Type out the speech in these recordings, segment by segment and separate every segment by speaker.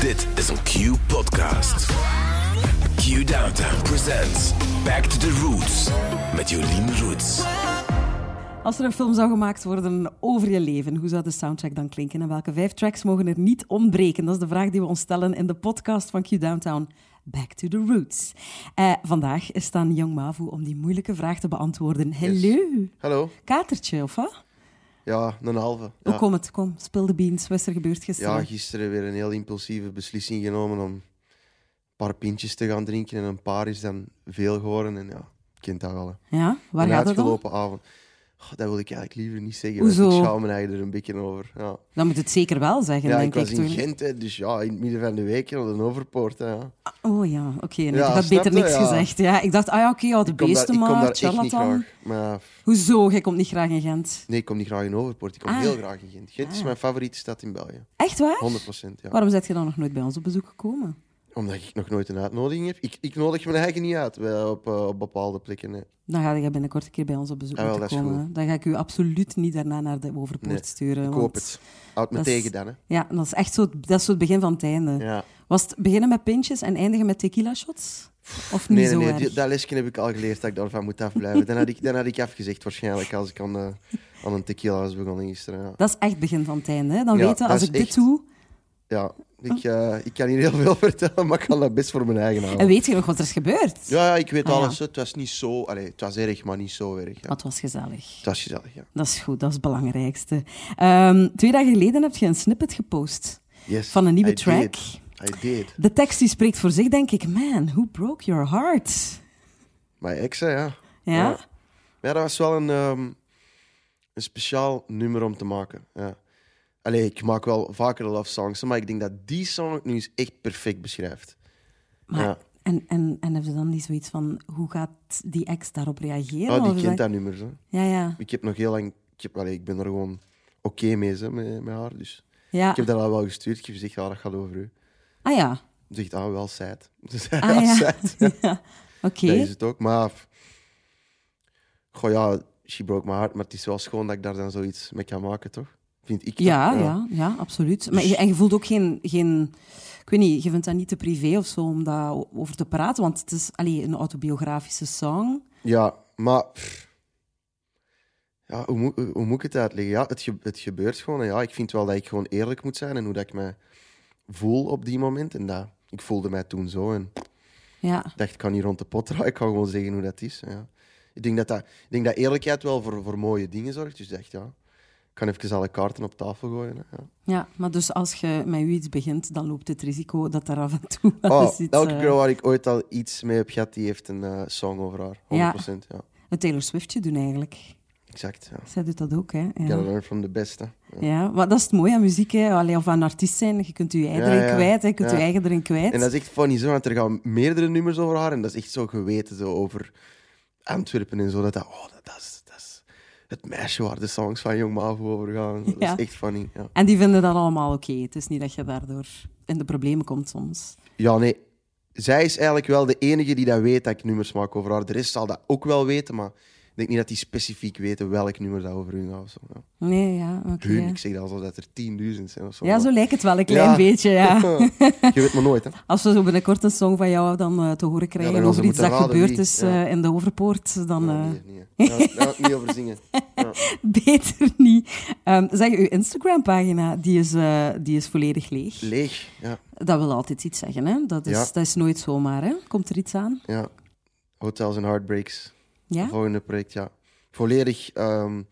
Speaker 1: Dit is een Q-podcast. Q Downtown presents Back to the Roots met Jolien Roots.
Speaker 2: Als er een film zou gemaakt worden over je leven, hoe zou de soundtrack dan klinken? En welke vijf tracks mogen er niet ontbreken? Dat is de vraag die we ons stellen in de podcast van Q Downtown. Back to the Roots. Eh, vandaag is het aan Young Mavu om die moeilijke vraag te beantwoorden. Hello.
Speaker 3: Hallo.
Speaker 2: Katertje, of wat?
Speaker 3: Ja, een halve.
Speaker 2: Hoe
Speaker 3: Ja.
Speaker 2: komt het? Kom, speel de beans. Wat is er gebeurd
Speaker 3: ja,
Speaker 2: gisteren?
Speaker 3: gisteren weer een heel impulsieve beslissing genomen om een paar pintjes te gaan drinken. En een paar is dan veel geworden. En ja, je kent dat wel. hè.
Speaker 2: Ja, waar
Speaker 3: een
Speaker 2: gaat het om?
Speaker 3: uitgelopen avond. Goh, dat wil ik eigenlijk liever niet zeggen. want
Speaker 2: Hoezo?
Speaker 3: Ik schaam me eigenlijk er een beetje over. Ja,
Speaker 2: Dan moet het zeker wel zeggen,
Speaker 3: ja ik
Speaker 2: denk ik.
Speaker 3: was in
Speaker 2: toen.
Speaker 3: Gent, hè, dus ja, in het midden van de week, ja, de overpoort. Hè, ja.
Speaker 2: Oh ja, oké. nee,
Speaker 3: Ja,
Speaker 2: ik had
Speaker 3: snap
Speaker 2: beter
Speaker 3: je?
Speaker 2: niks
Speaker 3: Ja.
Speaker 2: gezegd. Ja, ik dacht, ah ja, oké, ja, de
Speaker 3: Ik kom daar, ik
Speaker 2: beesten
Speaker 3: kom daar
Speaker 2: maar,
Speaker 3: echt niet
Speaker 2: charlatan.
Speaker 3: graag. Maar, f-
Speaker 2: Hoezo? Jij komt niet graag in Gent.
Speaker 3: nee, ik kom niet graag in Overpoort. Ik kom
Speaker 2: Ah.
Speaker 3: heel graag in Gent. Gent is
Speaker 2: Ah.
Speaker 3: mijn favoriete stad in België.
Speaker 2: Echt waar?
Speaker 3: 100 procent, ja.
Speaker 2: Waarom bent je dan nog nooit bij ons op bezoek gekomen?
Speaker 3: Omdat ik nog nooit een uitnodiging heb. Ik, ik nodig mijn eigen niet uit wel, op, eh, op bepaalde plekken. hè.
Speaker 2: Dan ga je binnenkort een keer bij ons op bezoek
Speaker 3: Ah, wel,
Speaker 2: moeten
Speaker 3: dat is
Speaker 2: komen. hè. Dan ga ik u absoluut niet daarna naar de overpoort
Speaker 3: Nee,
Speaker 2: sturen.
Speaker 3: Ik
Speaker 2: want-
Speaker 3: hoop het. Houd me
Speaker 2: dat is-
Speaker 3: tegen dan. Hè.
Speaker 2: Ja, dat is echt zo, het- dat is zo het begin van het einde.
Speaker 3: Ja.
Speaker 2: Was het beginnen met pintjes en eindigen met tequila shots? Of niet
Speaker 3: Nee, nee,
Speaker 2: zo
Speaker 3: nee.
Speaker 2: erg?
Speaker 3: die- dat lesje heb ik al geleerd dat ik daarvan moet afblijven. dan, had ik, dan had ik afgezegd waarschijnlijk als ik aan, de, aan een tequila was begonnen gisteren. Ja,
Speaker 2: Dat is echt het begin van het einde. Hè? Dan
Speaker 3: Ja,
Speaker 2: weten we,
Speaker 3: dat
Speaker 2: als
Speaker 3: is
Speaker 2: ik dit
Speaker 3: echt-
Speaker 2: doe...
Speaker 3: ja ik, eh, ik kan hier heel veel vertellen, maar ik kan dat best voor mijn eigen
Speaker 2: Ah. En
Speaker 3: houden.
Speaker 2: weet je nog wat er is gebeurd?
Speaker 3: Ja, ja, ik weet
Speaker 2: Ah, ja.
Speaker 3: alles. hè. Het was niet zo... Allee, het was erg, maar niet zo erg. ja.
Speaker 2: Dat was gezellig.
Speaker 3: Het was gezellig, ja.
Speaker 2: Dat is goed, dat is het belangrijkste. Ehm, twee dagen geleden heb je een snippet gepost
Speaker 3: Yes,
Speaker 2: van een nieuwe
Speaker 3: I
Speaker 2: track.
Speaker 3: Did. I did.
Speaker 2: De tekst die spreekt voor zich, denk ik. Man, who broke your heart?
Speaker 3: Mijn ex, hè, ja.
Speaker 2: Ja?
Speaker 3: Ja. Ja, dat was wel een, ehm, een speciaal nummer om te maken. Ja. Allee, ik maak wel vaker love songs, maar ik denk dat die song het nu eens echt perfect beschrijft.
Speaker 2: Maar,
Speaker 3: Ja.
Speaker 2: en, en, en hebben ze dan niet zoiets van, hoe gaat die ex daarop reageren?
Speaker 3: Oh,
Speaker 2: Of
Speaker 3: die
Speaker 2: is
Speaker 3: kent
Speaker 2: dat-
Speaker 3: dat nummer. Hè.
Speaker 2: Ja, ja.
Speaker 3: Ik heb nog heel lang... Ik, heb, allee, ik ben er gewoon oké mee hè, met, met haar. Dus.
Speaker 2: ja.
Speaker 3: Ik heb dat al wel gestuurd. Ik heb gezegd, ja, dat gaat over u.
Speaker 2: Ah ja,
Speaker 3: Ze zegt, ah, wel sad. Ze zei,
Speaker 2: Ah,
Speaker 3: ah,
Speaker 2: ja.
Speaker 3: sad.
Speaker 2: oké.
Speaker 3: Dat is het ook. Maar... Goh, ja, she broke my heart. Maar het is wel schoon dat ik daar dan zoiets mee kan maken, toch? Vind ik. toch?
Speaker 2: Ja, ja, ja, absoluut.
Speaker 3: Dus-
Speaker 2: Maar, je- en je voelt ook geen, geen... Ik weet niet, je vindt dat niet te privé of zo om daarover te praten, want het is allee, een autobiografische song.
Speaker 3: Ja, maar. pff. Ja, hoe, moet- hoe moet ik het uitleggen? Ja, het, ge- het gebeurt gewoon. En ja, ik vind wel dat ik gewoon eerlijk moet zijn en hoe dat ik me voel op die moment. En dat, ik voelde mij toen zo en
Speaker 2: Ja.
Speaker 3: dacht, ik kan niet rond de pot draaien. Ik kan gewoon zeggen hoe dat is. Ja. Ik, denk dat dat, ik denk dat eerlijkheid wel voor, voor mooie dingen zorgt. Dus ik dacht, ja, ik kan even alle kaarten op tafel gooien. hè, Ja.
Speaker 2: ja, maar dus als je met u iets begint, dan loopt het risico dat daar af en toe wel
Speaker 3: Oh,
Speaker 2: eens iets...
Speaker 3: elke
Speaker 2: eh,
Speaker 3: girl waar ik ooit al iets mee heb gehad, die heeft een eh, song over haar. 100%.
Speaker 2: Ja.
Speaker 3: Ja.
Speaker 2: Een Taylor Swiftje doen eigenlijk.
Speaker 3: Exact. Ja.
Speaker 2: Zij doet dat ook, hè? Ja.
Speaker 3: Gotta learn from the best. Hè.
Speaker 2: Ja, maar dat is het mooie aan muziek, hè. Allee, of aan artiest zijn. Je kunt je ei
Speaker 3: Ja,
Speaker 2: erin
Speaker 3: ja.
Speaker 2: kwijt, hè. je kunt
Speaker 3: Ja.
Speaker 2: je eigen erin kwijt.
Speaker 3: En dat is echt funny zo, want er gaan meerdere nummers over haar. En dat is echt zo geweten zo over Antwerpen en zo. Dat, dat, oh, dat, dat, is, dat is het meisje waar de songs van Jong Mavo over gaan. Dat
Speaker 2: Ja.
Speaker 3: is echt funny. Ja,
Speaker 2: En die vinden dat allemaal oké. Het is niet dat je daardoor in de problemen komt soms.
Speaker 3: ja nee. Zij is eigenlijk wel de enige die dat weet dat ik nummers maak over haar. De rest zal dat ook wel weten, maar ik denk niet dat die specifiek weten welk nummer dat over hun gaat. Of zo, ja.
Speaker 2: Nee, ja, oké.
Speaker 3: Hun, ik zeg dat alsof dat er 10.000 zijn of zo.
Speaker 2: Ja,
Speaker 3: maar-
Speaker 2: zo lijkt het wel een klein
Speaker 3: Ja.
Speaker 2: beetje, ja.
Speaker 3: Je weet maar nooit, hè?
Speaker 2: Als we zo binnenkort een song van jou dan eh, te horen krijgen
Speaker 3: gaan ze
Speaker 2: over iets
Speaker 3: moeten
Speaker 2: dat
Speaker 3: raden
Speaker 2: gebeurd
Speaker 3: wie,
Speaker 2: is
Speaker 3: ja.
Speaker 2: eh, in de Overpoort, dan
Speaker 3: Ja,
Speaker 2: eh,
Speaker 3: nee, nee. Daar daar wil ik niet over zingen. Ja.
Speaker 2: beter niet. Ehm zeg, uw Instagram-pagina, die is, eh, die is volledig leeg.
Speaker 3: Leeg, ja.
Speaker 2: dat wil altijd iets zeggen, hè. Dat is,
Speaker 3: Ja.
Speaker 2: dat is nooit zomaar, hè. Komt er iets aan?
Speaker 3: ja. Hotels en Heartbreaks.
Speaker 2: Ja?
Speaker 3: Volgende project, ja. Volledig ehm,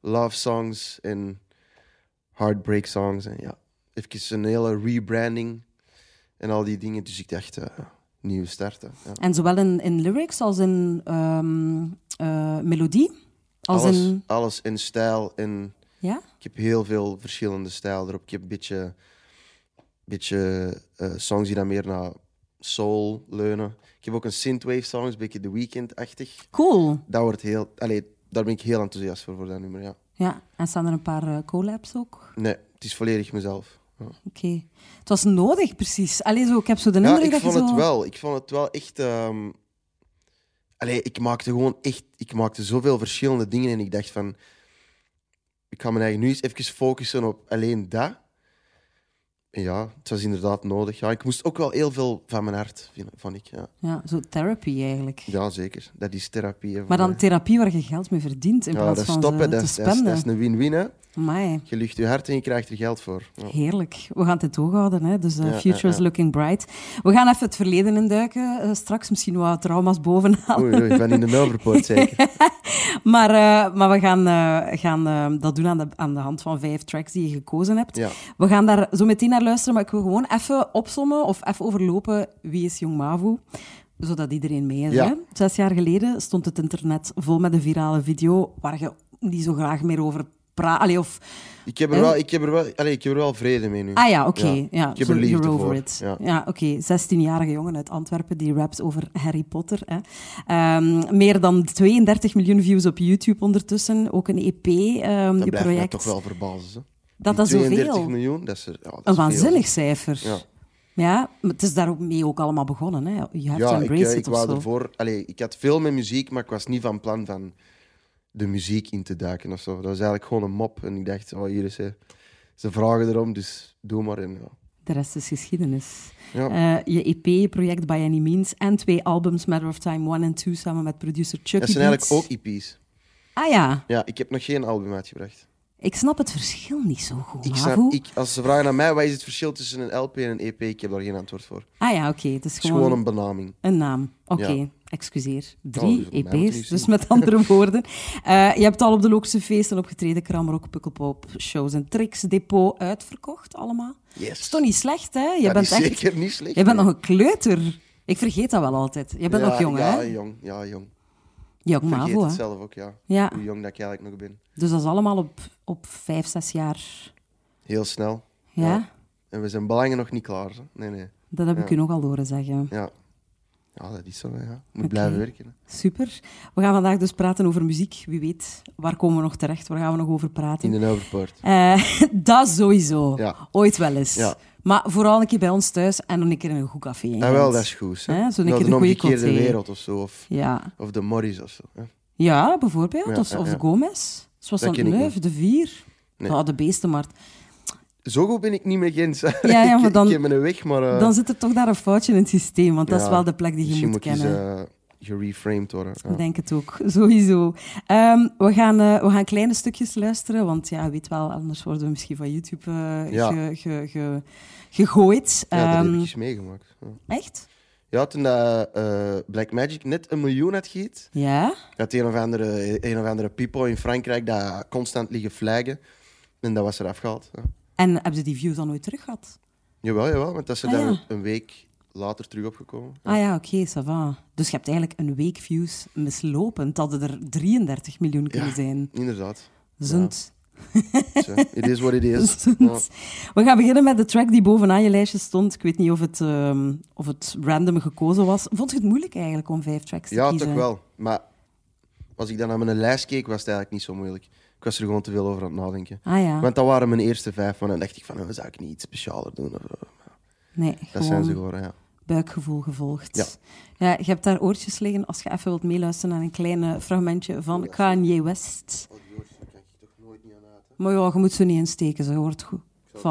Speaker 3: love songs en heartbreak songs. En ja, even een hele rebranding en al die dingen. Dus ik dacht, eh, nieuw starten. Ja.
Speaker 2: En zowel in, in lyrics als in ehm, eh, melodie? Als
Speaker 3: alles,
Speaker 2: in...
Speaker 3: alles in stijl. En
Speaker 2: Ja?
Speaker 3: ik heb heel veel verschillende stijlen erop. Ik heb een beetje, beetje eh, songs die dan meer naar soul leunen. Ik heb ook een synthwave songs, een beetje The Weeknd-achtig.
Speaker 2: Cool.
Speaker 3: Dat wordt heel... Allee, daar ben ik heel enthousiast voor, voor dat nummer, ja.
Speaker 2: Ja, en staan er een paar eh, collabs ook?
Speaker 3: Nee, het is volledig mezelf. Ja.
Speaker 2: Oké. Het was nodig, precies. Allee, zo, ik heb zo de indruk
Speaker 3: ja, ik
Speaker 2: dat
Speaker 3: vond
Speaker 2: je zo...
Speaker 3: het wel. Ik vond het wel echt. ehm, Allee, ik maakte gewoon echt. Ik maakte zoveel verschillende dingen en ik dacht van. Ik ga me eigen nu eens even focussen op alleen dat. En ja, het was inderdaad nodig. Ja, ik moest ook wel heel veel van mijn hart, vind- vond ik. Ja,
Speaker 2: Ja, zo therapy eigenlijk.
Speaker 3: ja zeker. Dat is therapie. hè, voor
Speaker 2: Maar dan
Speaker 3: mij.
Speaker 2: therapie waar je geld mee verdient in
Speaker 3: ja,
Speaker 2: plaats
Speaker 3: dat
Speaker 2: van
Speaker 3: stoppen,
Speaker 2: ze
Speaker 3: dat,
Speaker 2: te
Speaker 3: is- dat, is, dat
Speaker 2: spenden.
Speaker 3: is een win-win. hè.
Speaker 2: Amai.
Speaker 3: Je lucht je hart en je krijgt er geld voor. Ja.
Speaker 2: Heerlijk. We gaan het in het oog houden, hè? dus eh,
Speaker 3: Ja,
Speaker 2: future
Speaker 3: ja,
Speaker 2: is
Speaker 3: ja.
Speaker 2: looking bright. We gaan even het verleden induiken, eh, straks misschien wat trauma's bovenaan.
Speaker 3: Oei, oei, van in de Melverpoort zeker.
Speaker 2: Maar, eh, maar we gaan, eh, gaan eh, dat doen aan de, aan de hand van vijf tracks die je gekozen hebt.
Speaker 3: Ja.
Speaker 2: We gaan daar zo meteen naar luisteren, maar ik wil gewoon even opsommen of even overlopen wie is Jong Mavo, zodat iedereen mee is.
Speaker 3: Ja.
Speaker 2: Hè? Zes jaar geleden stond het internet vol met een virale video waar je niet zo graag meer over praat. Allee, of...
Speaker 3: Ik heb er wel, ik heb er wel, allez, ik heb er wel vrede mee nu.
Speaker 2: Ah ja, oké. Ja.
Speaker 3: Ik heb
Speaker 2: zo
Speaker 3: er liefde
Speaker 2: you're over
Speaker 3: voor.
Speaker 2: it.
Speaker 3: Ja.
Speaker 2: Ja, oké. 16-jarige jongen uit Antwerpen die rapt over Harry Potter. Hè. Ehm, meer dan 32 miljoen views op YouTube ondertussen. Ook een EP, ehm
Speaker 3: dat
Speaker 2: die
Speaker 3: blijft mij
Speaker 2: project.
Speaker 3: toch wel verbazen. hè.
Speaker 2: Dat dat
Speaker 3: Die 32
Speaker 2: zoveel.
Speaker 3: miljoen, dat is, er, ja, dat is
Speaker 2: Een
Speaker 3: veel.
Speaker 2: waanzinnig cijfer.
Speaker 3: Ja.
Speaker 2: Ja, maar het is daar ook mee ook allemaal begonnen. Hè. You have to
Speaker 3: Ja, ik,
Speaker 2: embrace
Speaker 3: eh, ik
Speaker 2: it of
Speaker 3: wou
Speaker 2: zo.
Speaker 3: ervoor... Allee, ik had veel met muziek, maar ik was niet van plan van de muziek in te duiken of zo. Dat was eigenlijk gewoon een mop. En ik dacht, oh, hier is... eh, Ze vragen erom, dus doe maar. En, ja.
Speaker 2: De rest is geschiedenis.
Speaker 3: Ja.
Speaker 2: Eh, je EP, project By Any Means, en twee albums, Matter of Time 1 en 2, samen met producer Chucky
Speaker 3: Dat zijn eigenlijk
Speaker 2: Beats.
Speaker 3: ook EP's.
Speaker 2: Ah ja,
Speaker 3: Ja, ik heb nog geen album uitgebracht.
Speaker 2: ik snap het verschil niet zo goed,
Speaker 3: Ik
Speaker 2: Mavo.
Speaker 3: snap, ik, als ze vragen aan mij, wat is het verschil tussen een LP en een EP? Ik heb daar geen antwoord voor. Het
Speaker 2: Ah ja, oké. Het is
Speaker 3: is
Speaker 2: gewoon,
Speaker 3: gewoon, een benaming.
Speaker 2: een naam. Oké,
Speaker 3: Ja.
Speaker 2: excuseer. Drie
Speaker 3: Oh, dus mij moet je
Speaker 2: EP's,
Speaker 3: niet
Speaker 2: dus
Speaker 3: zien.
Speaker 2: met andere woorden. Eh, je hebt al op de Lookse feesten opgetreden, Kramrock, Pukkelpop, shows en tricks, depot, uitverkocht allemaal.
Speaker 3: Yes.
Speaker 2: is toch niet slecht, hè? Je
Speaker 3: Dat
Speaker 2: bent
Speaker 3: is
Speaker 2: echt...
Speaker 3: zeker niet slecht.
Speaker 2: Je bent
Speaker 3: nee.
Speaker 2: nog een kleuter. Ik vergeet dat wel altijd. Je bent
Speaker 3: ja,
Speaker 2: nog jong,
Speaker 3: ja,
Speaker 2: hè?
Speaker 3: jong. Ja, jong.
Speaker 2: Jong
Speaker 3: Ik vergeet
Speaker 2: mavo,
Speaker 3: het
Speaker 2: hè?
Speaker 3: zelf ook, ja.
Speaker 2: Ja.
Speaker 3: Hoe jong dat ik eigenlijk nog ben.
Speaker 2: Dus dat is allemaal op, op vijf, zes jaar.
Speaker 3: Heel snel.
Speaker 2: Ja?
Speaker 3: En we zijn belangen nog niet klaar. hè. Nee, nee.
Speaker 2: Dat heb ik
Speaker 3: Ja.
Speaker 2: u nog al horen zeggen.
Speaker 3: Ja. Ja, dat is zo, hè, ja. Moet
Speaker 2: Oké.
Speaker 3: blijven werken. hè.
Speaker 2: Super. We gaan vandaag dus praten over muziek. Wie weet, waar komen we nog terecht? Waar gaan we nog over praten?
Speaker 3: In de Overpoort.
Speaker 2: Eh, dat sowieso.
Speaker 3: Ja.
Speaker 2: Ooit wel eens.
Speaker 3: Ja.
Speaker 2: Maar vooral een keer bij ons thuis en een keer in een goed café. in
Speaker 3: Ah, wel,
Speaker 2: Gent.
Speaker 3: dat is goed.
Speaker 2: Hè,
Speaker 3: Hè?
Speaker 2: zo'n
Speaker 3: Nou,
Speaker 2: keer
Speaker 3: de
Speaker 2: de goeie
Speaker 3: omgekeerde
Speaker 2: coté.
Speaker 3: wereld of zo. Of,
Speaker 2: Ja.
Speaker 3: of de Morris of zo. Hè?
Speaker 2: ja, bijvoorbeeld.
Speaker 3: Ja,
Speaker 2: of
Speaker 3: ja,
Speaker 2: of
Speaker 3: ja.
Speaker 2: de Gomez. Zoals
Speaker 3: Dat
Speaker 2: dat
Speaker 3: ken ik
Speaker 2: Neuf, de Vier.
Speaker 3: Nee.
Speaker 2: Ja, de Beestenmarkt.
Speaker 3: Zo goed ben ik niet met Gens. Ja,
Speaker 2: ja, maar dan-
Speaker 3: Ik heb mijn weg, maar... eh,
Speaker 2: Dan zit er toch daar een foutje in het systeem, want dat
Speaker 3: ja,
Speaker 2: is wel de plek die je
Speaker 3: misschien
Speaker 2: moet
Speaker 3: eens,
Speaker 2: kennen.
Speaker 3: eh, gereframed worden. ja.
Speaker 2: Ik denk het ook, sowieso. Ehm, we, gaan, eh, we gaan kleine stukjes luisteren, want ja, je weet wel, anders worden we misschien van YouTube eh,
Speaker 3: Ja.
Speaker 2: ge- ge- ge- gegooid.
Speaker 3: Ja, dat heb
Speaker 2: Ehm,
Speaker 3: ik eens meegemaakt. Ja,
Speaker 2: Echt?
Speaker 3: ja toen dat, eh Black Magic net een miljoen had gehiet,
Speaker 2: Ja?
Speaker 3: had een of andere, een of andere people in Frankrijk dat constant liggen flaggen. En dat was er afgehaald. Ja.
Speaker 2: En hebben ze die views dan nooit terug gehad?
Speaker 3: Jawel, jawel, want dat is er
Speaker 2: Ah,
Speaker 3: dan
Speaker 2: ja.
Speaker 3: een week later terug opgekomen.
Speaker 2: Ah ja, oké, ça va. Dus je hebt eigenlijk een week views mislopen. Het hadden er 33 miljoen kunnen
Speaker 3: Ja.
Speaker 2: zijn.
Speaker 3: Inderdaad.
Speaker 2: Zunt.
Speaker 3: Zo, it is what it is.
Speaker 2: Zunt.
Speaker 3: Ja.
Speaker 2: We gaan beginnen met de track die bovenaan je lijstje stond. Ik weet niet of het, ehm, of het random gekozen was. Vond je het moeilijk eigenlijk om vijf tracks te
Speaker 3: Ja,
Speaker 2: kiezen?
Speaker 3: toch wel. Maar als ik dan naar mijn lijst keek, was het eigenlijk niet zo moeilijk. Ik was er gewoon te veel over aan het nadenken.
Speaker 2: Ah ja.
Speaker 3: Want dat waren mijn eerste vijf, maar dan dacht ik van, oh, zou ik niet iets specialer doen? Of, eh,
Speaker 2: Nee,
Speaker 3: Dat zijn
Speaker 2: gewoon-
Speaker 3: ze geworden, ja.
Speaker 2: buikgevoel gevolgd.
Speaker 3: Ja.
Speaker 2: Ja, je hebt daar oortjes liggen als je even wilt meeluisteren aan een klein fragmentje
Speaker 3: Oh,
Speaker 2: van Kanye West. Maar ja, je moet ze niet insteken, ze hoort goed. Voilà,
Speaker 4: Let's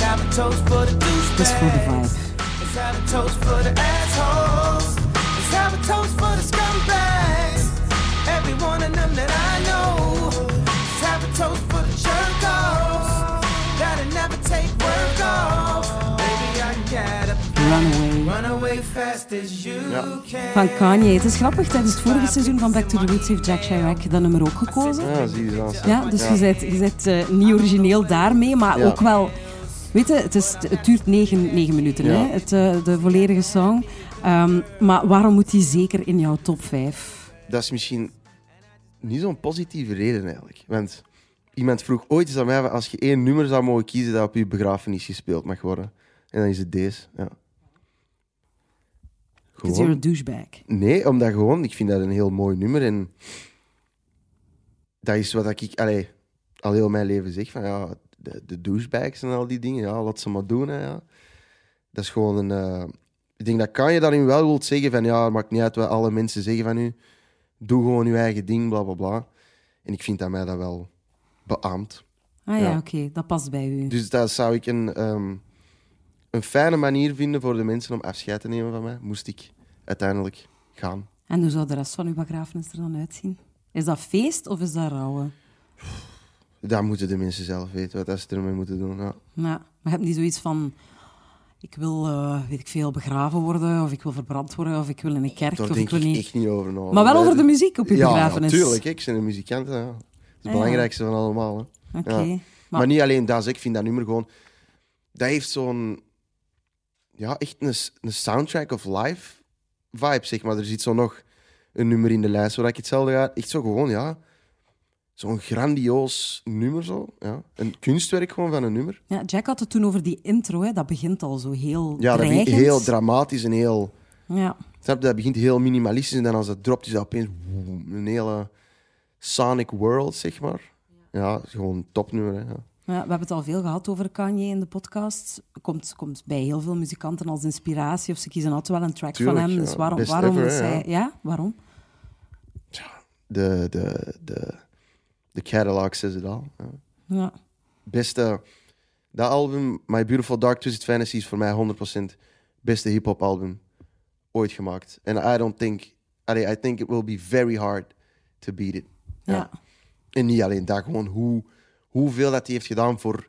Speaker 4: have a toast for the
Speaker 2: het is voor de
Speaker 4: douchebags.
Speaker 2: vibe.
Speaker 4: Let's have a toast for the assholes. Let's have a toast for the scumbags. Every one of them that I know. Let's have a toast for the jerk Gotta never take work off. Baby, I gotta
Speaker 2: Runaway.
Speaker 4: run away fast as you
Speaker 3: Ja.
Speaker 4: can.
Speaker 2: Van Kanye. Het is grappig, tijdens het vorige seizoen van Back to the Roots heeft Jack Chirac dat nummer ook gekozen.
Speaker 3: Ja, zie je dan.
Speaker 2: Ja, dus je bent, je bent eh, niet origineel daarmee, maar
Speaker 3: Ja.
Speaker 2: ook wel... Weet je, het, is, het duurt negen, negen minuten,
Speaker 3: Ja.
Speaker 2: hè, het, eh, de volledige song. Ehm, maar waarom moet die zeker in jouw top 5?
Speaker 3: Dat is misschien niet zo'n positieve reden eigenlijk. Want iemand vroeg ooit eens aan mij, van, als je één nummer zou mogen kiezen dat op je begrafenis gespeeld mag worden. En dan is het deze, ja.
Speaker 2: Because you're a
Speaker 3: Gewoon.
Speaker 2: douchebag.
Speaker 3: Nee, omdat gewoon, ik vind dat een heel mooi nummer. En dat is wat ik allee, al heel mijn leven zeg. Van, ja, de, de douchebags en al die dingen, ja, laat ze maar doen. Hè, ja. Dat is gewoon een... eh, ik denk dat kan je daarin wel wilt zeggen van, ja, het maakt niet uit wat alle mensen zeggen van u. Doe gewoon je eigen ding, bla, bla, bla. En ik vind dat mij dat wel beaamt.
Speaker 2: Ah ja,
Speaker 3: Ja.
Speaker 2: oké, dat past bij u.
Speaker 3: Dus daar zou ik een ehm, een fijne manier vinden voor de mensen om afscheid te nemen van mij, moest ik uiteindelijk gaan.
Speaker 2: En hoe zou de rest van uw begrafenis er dan uitzien? Is dat feest of is dat rouwen?
Speaker 3: Dat moeten de mensen zelf weten, wat dat ze ermee moeten doen. Ja.
Speaker 2: Ja, maar je hebt niet zoiets van... Ik wil, eh, weet ik veel, begraven worden, of ik wil verbrand worden, of ik wil in een kerk,
Speaker 3: Daar
Speaker 2: of
Speaker 3: denk
Speaker 2: ik wil
Speaker 3: ik
Speaker 2: niet...
Speaker 3: echt niet over na.
Speaker 2: Maar wel
Speaker 3: Eh,
Speaker 2: over de
Speaker 3: d-
Speaker 2: muziek op uw
Speaker 3: ja,
Speaker 2: begrafenis.
Speaker 3: Ja, natuurlijk. Ik ben een muzikant. hè, Ja. Dat is het
Speaker 2: Ah, ja.
Speaker 3: belangrijkste van allemaal. Hè.
Speaker 2: Oké.
Speaker 3: Ja.
Speaker 2: Maar,
Speaker 3: Maar, niet alleen dat, zeg. ik vind dat nummer gewoon... Dat heeft zo'n... Ja, echt een, s- een soundtrack of life vibe, zeg maar. Er zit zo nog een nummer in de lijst waar ik hetzelfde ga... Echt zo gewoon, ja... Zo'n grandioos nummer, zo. Ja. Een kunstwerk gewoon van een nummer.
Speaker 2: ja, Jack had het toen over die intro, hè. dat begint al zo heel
Speaker 3: Ja, dat vind ik
Speaker 2: dreigend.
Speaker 3: heel dramatisch en heel...
Speaker 2: Ja.
Speaker 3: Snap je? Dat begint heel minimalistisch en dan als dat dropt is dat opeens woem, een hele Sonic World, zeg maar. Ja, is gewoon een topnummer. Hè. ja.
Speaker 2: Ja, we hebben het al veel gehad over Kanye in de podcast. Komt, komt bij heel veel muzikanten als inspiratie, of ze kiezen altijd wel een track van
Speaker 3: Tuurlijk,
Speaker 2: hem.
Speaker 3: ja.
Speaker 2: Dus waarom,
Speaker 3: Best
Speaker 2: waarom
Speaker 3: ever,
Speaker 2: is
Speaker 3: hè,
Speaker 2: hij...
Speaker 3: ja.
Speaker 2: Ja, waarom?
Speaker 3: De, de, de, de catalog says it all. ja.
Speaker 2: Ja.
Speaker 3: Beste, dat album, My Beautiful Dark Twisted Fantasy, is voor mij 100% beste hip-hop album ooit gemaakt. En I don't think, allee, I think it will be very hard to beat it.
Speaker 2: Ja.
Speaker 3: En niet alleen dat, gewoon hoe, hoeveel dat hij heeft gedaan voor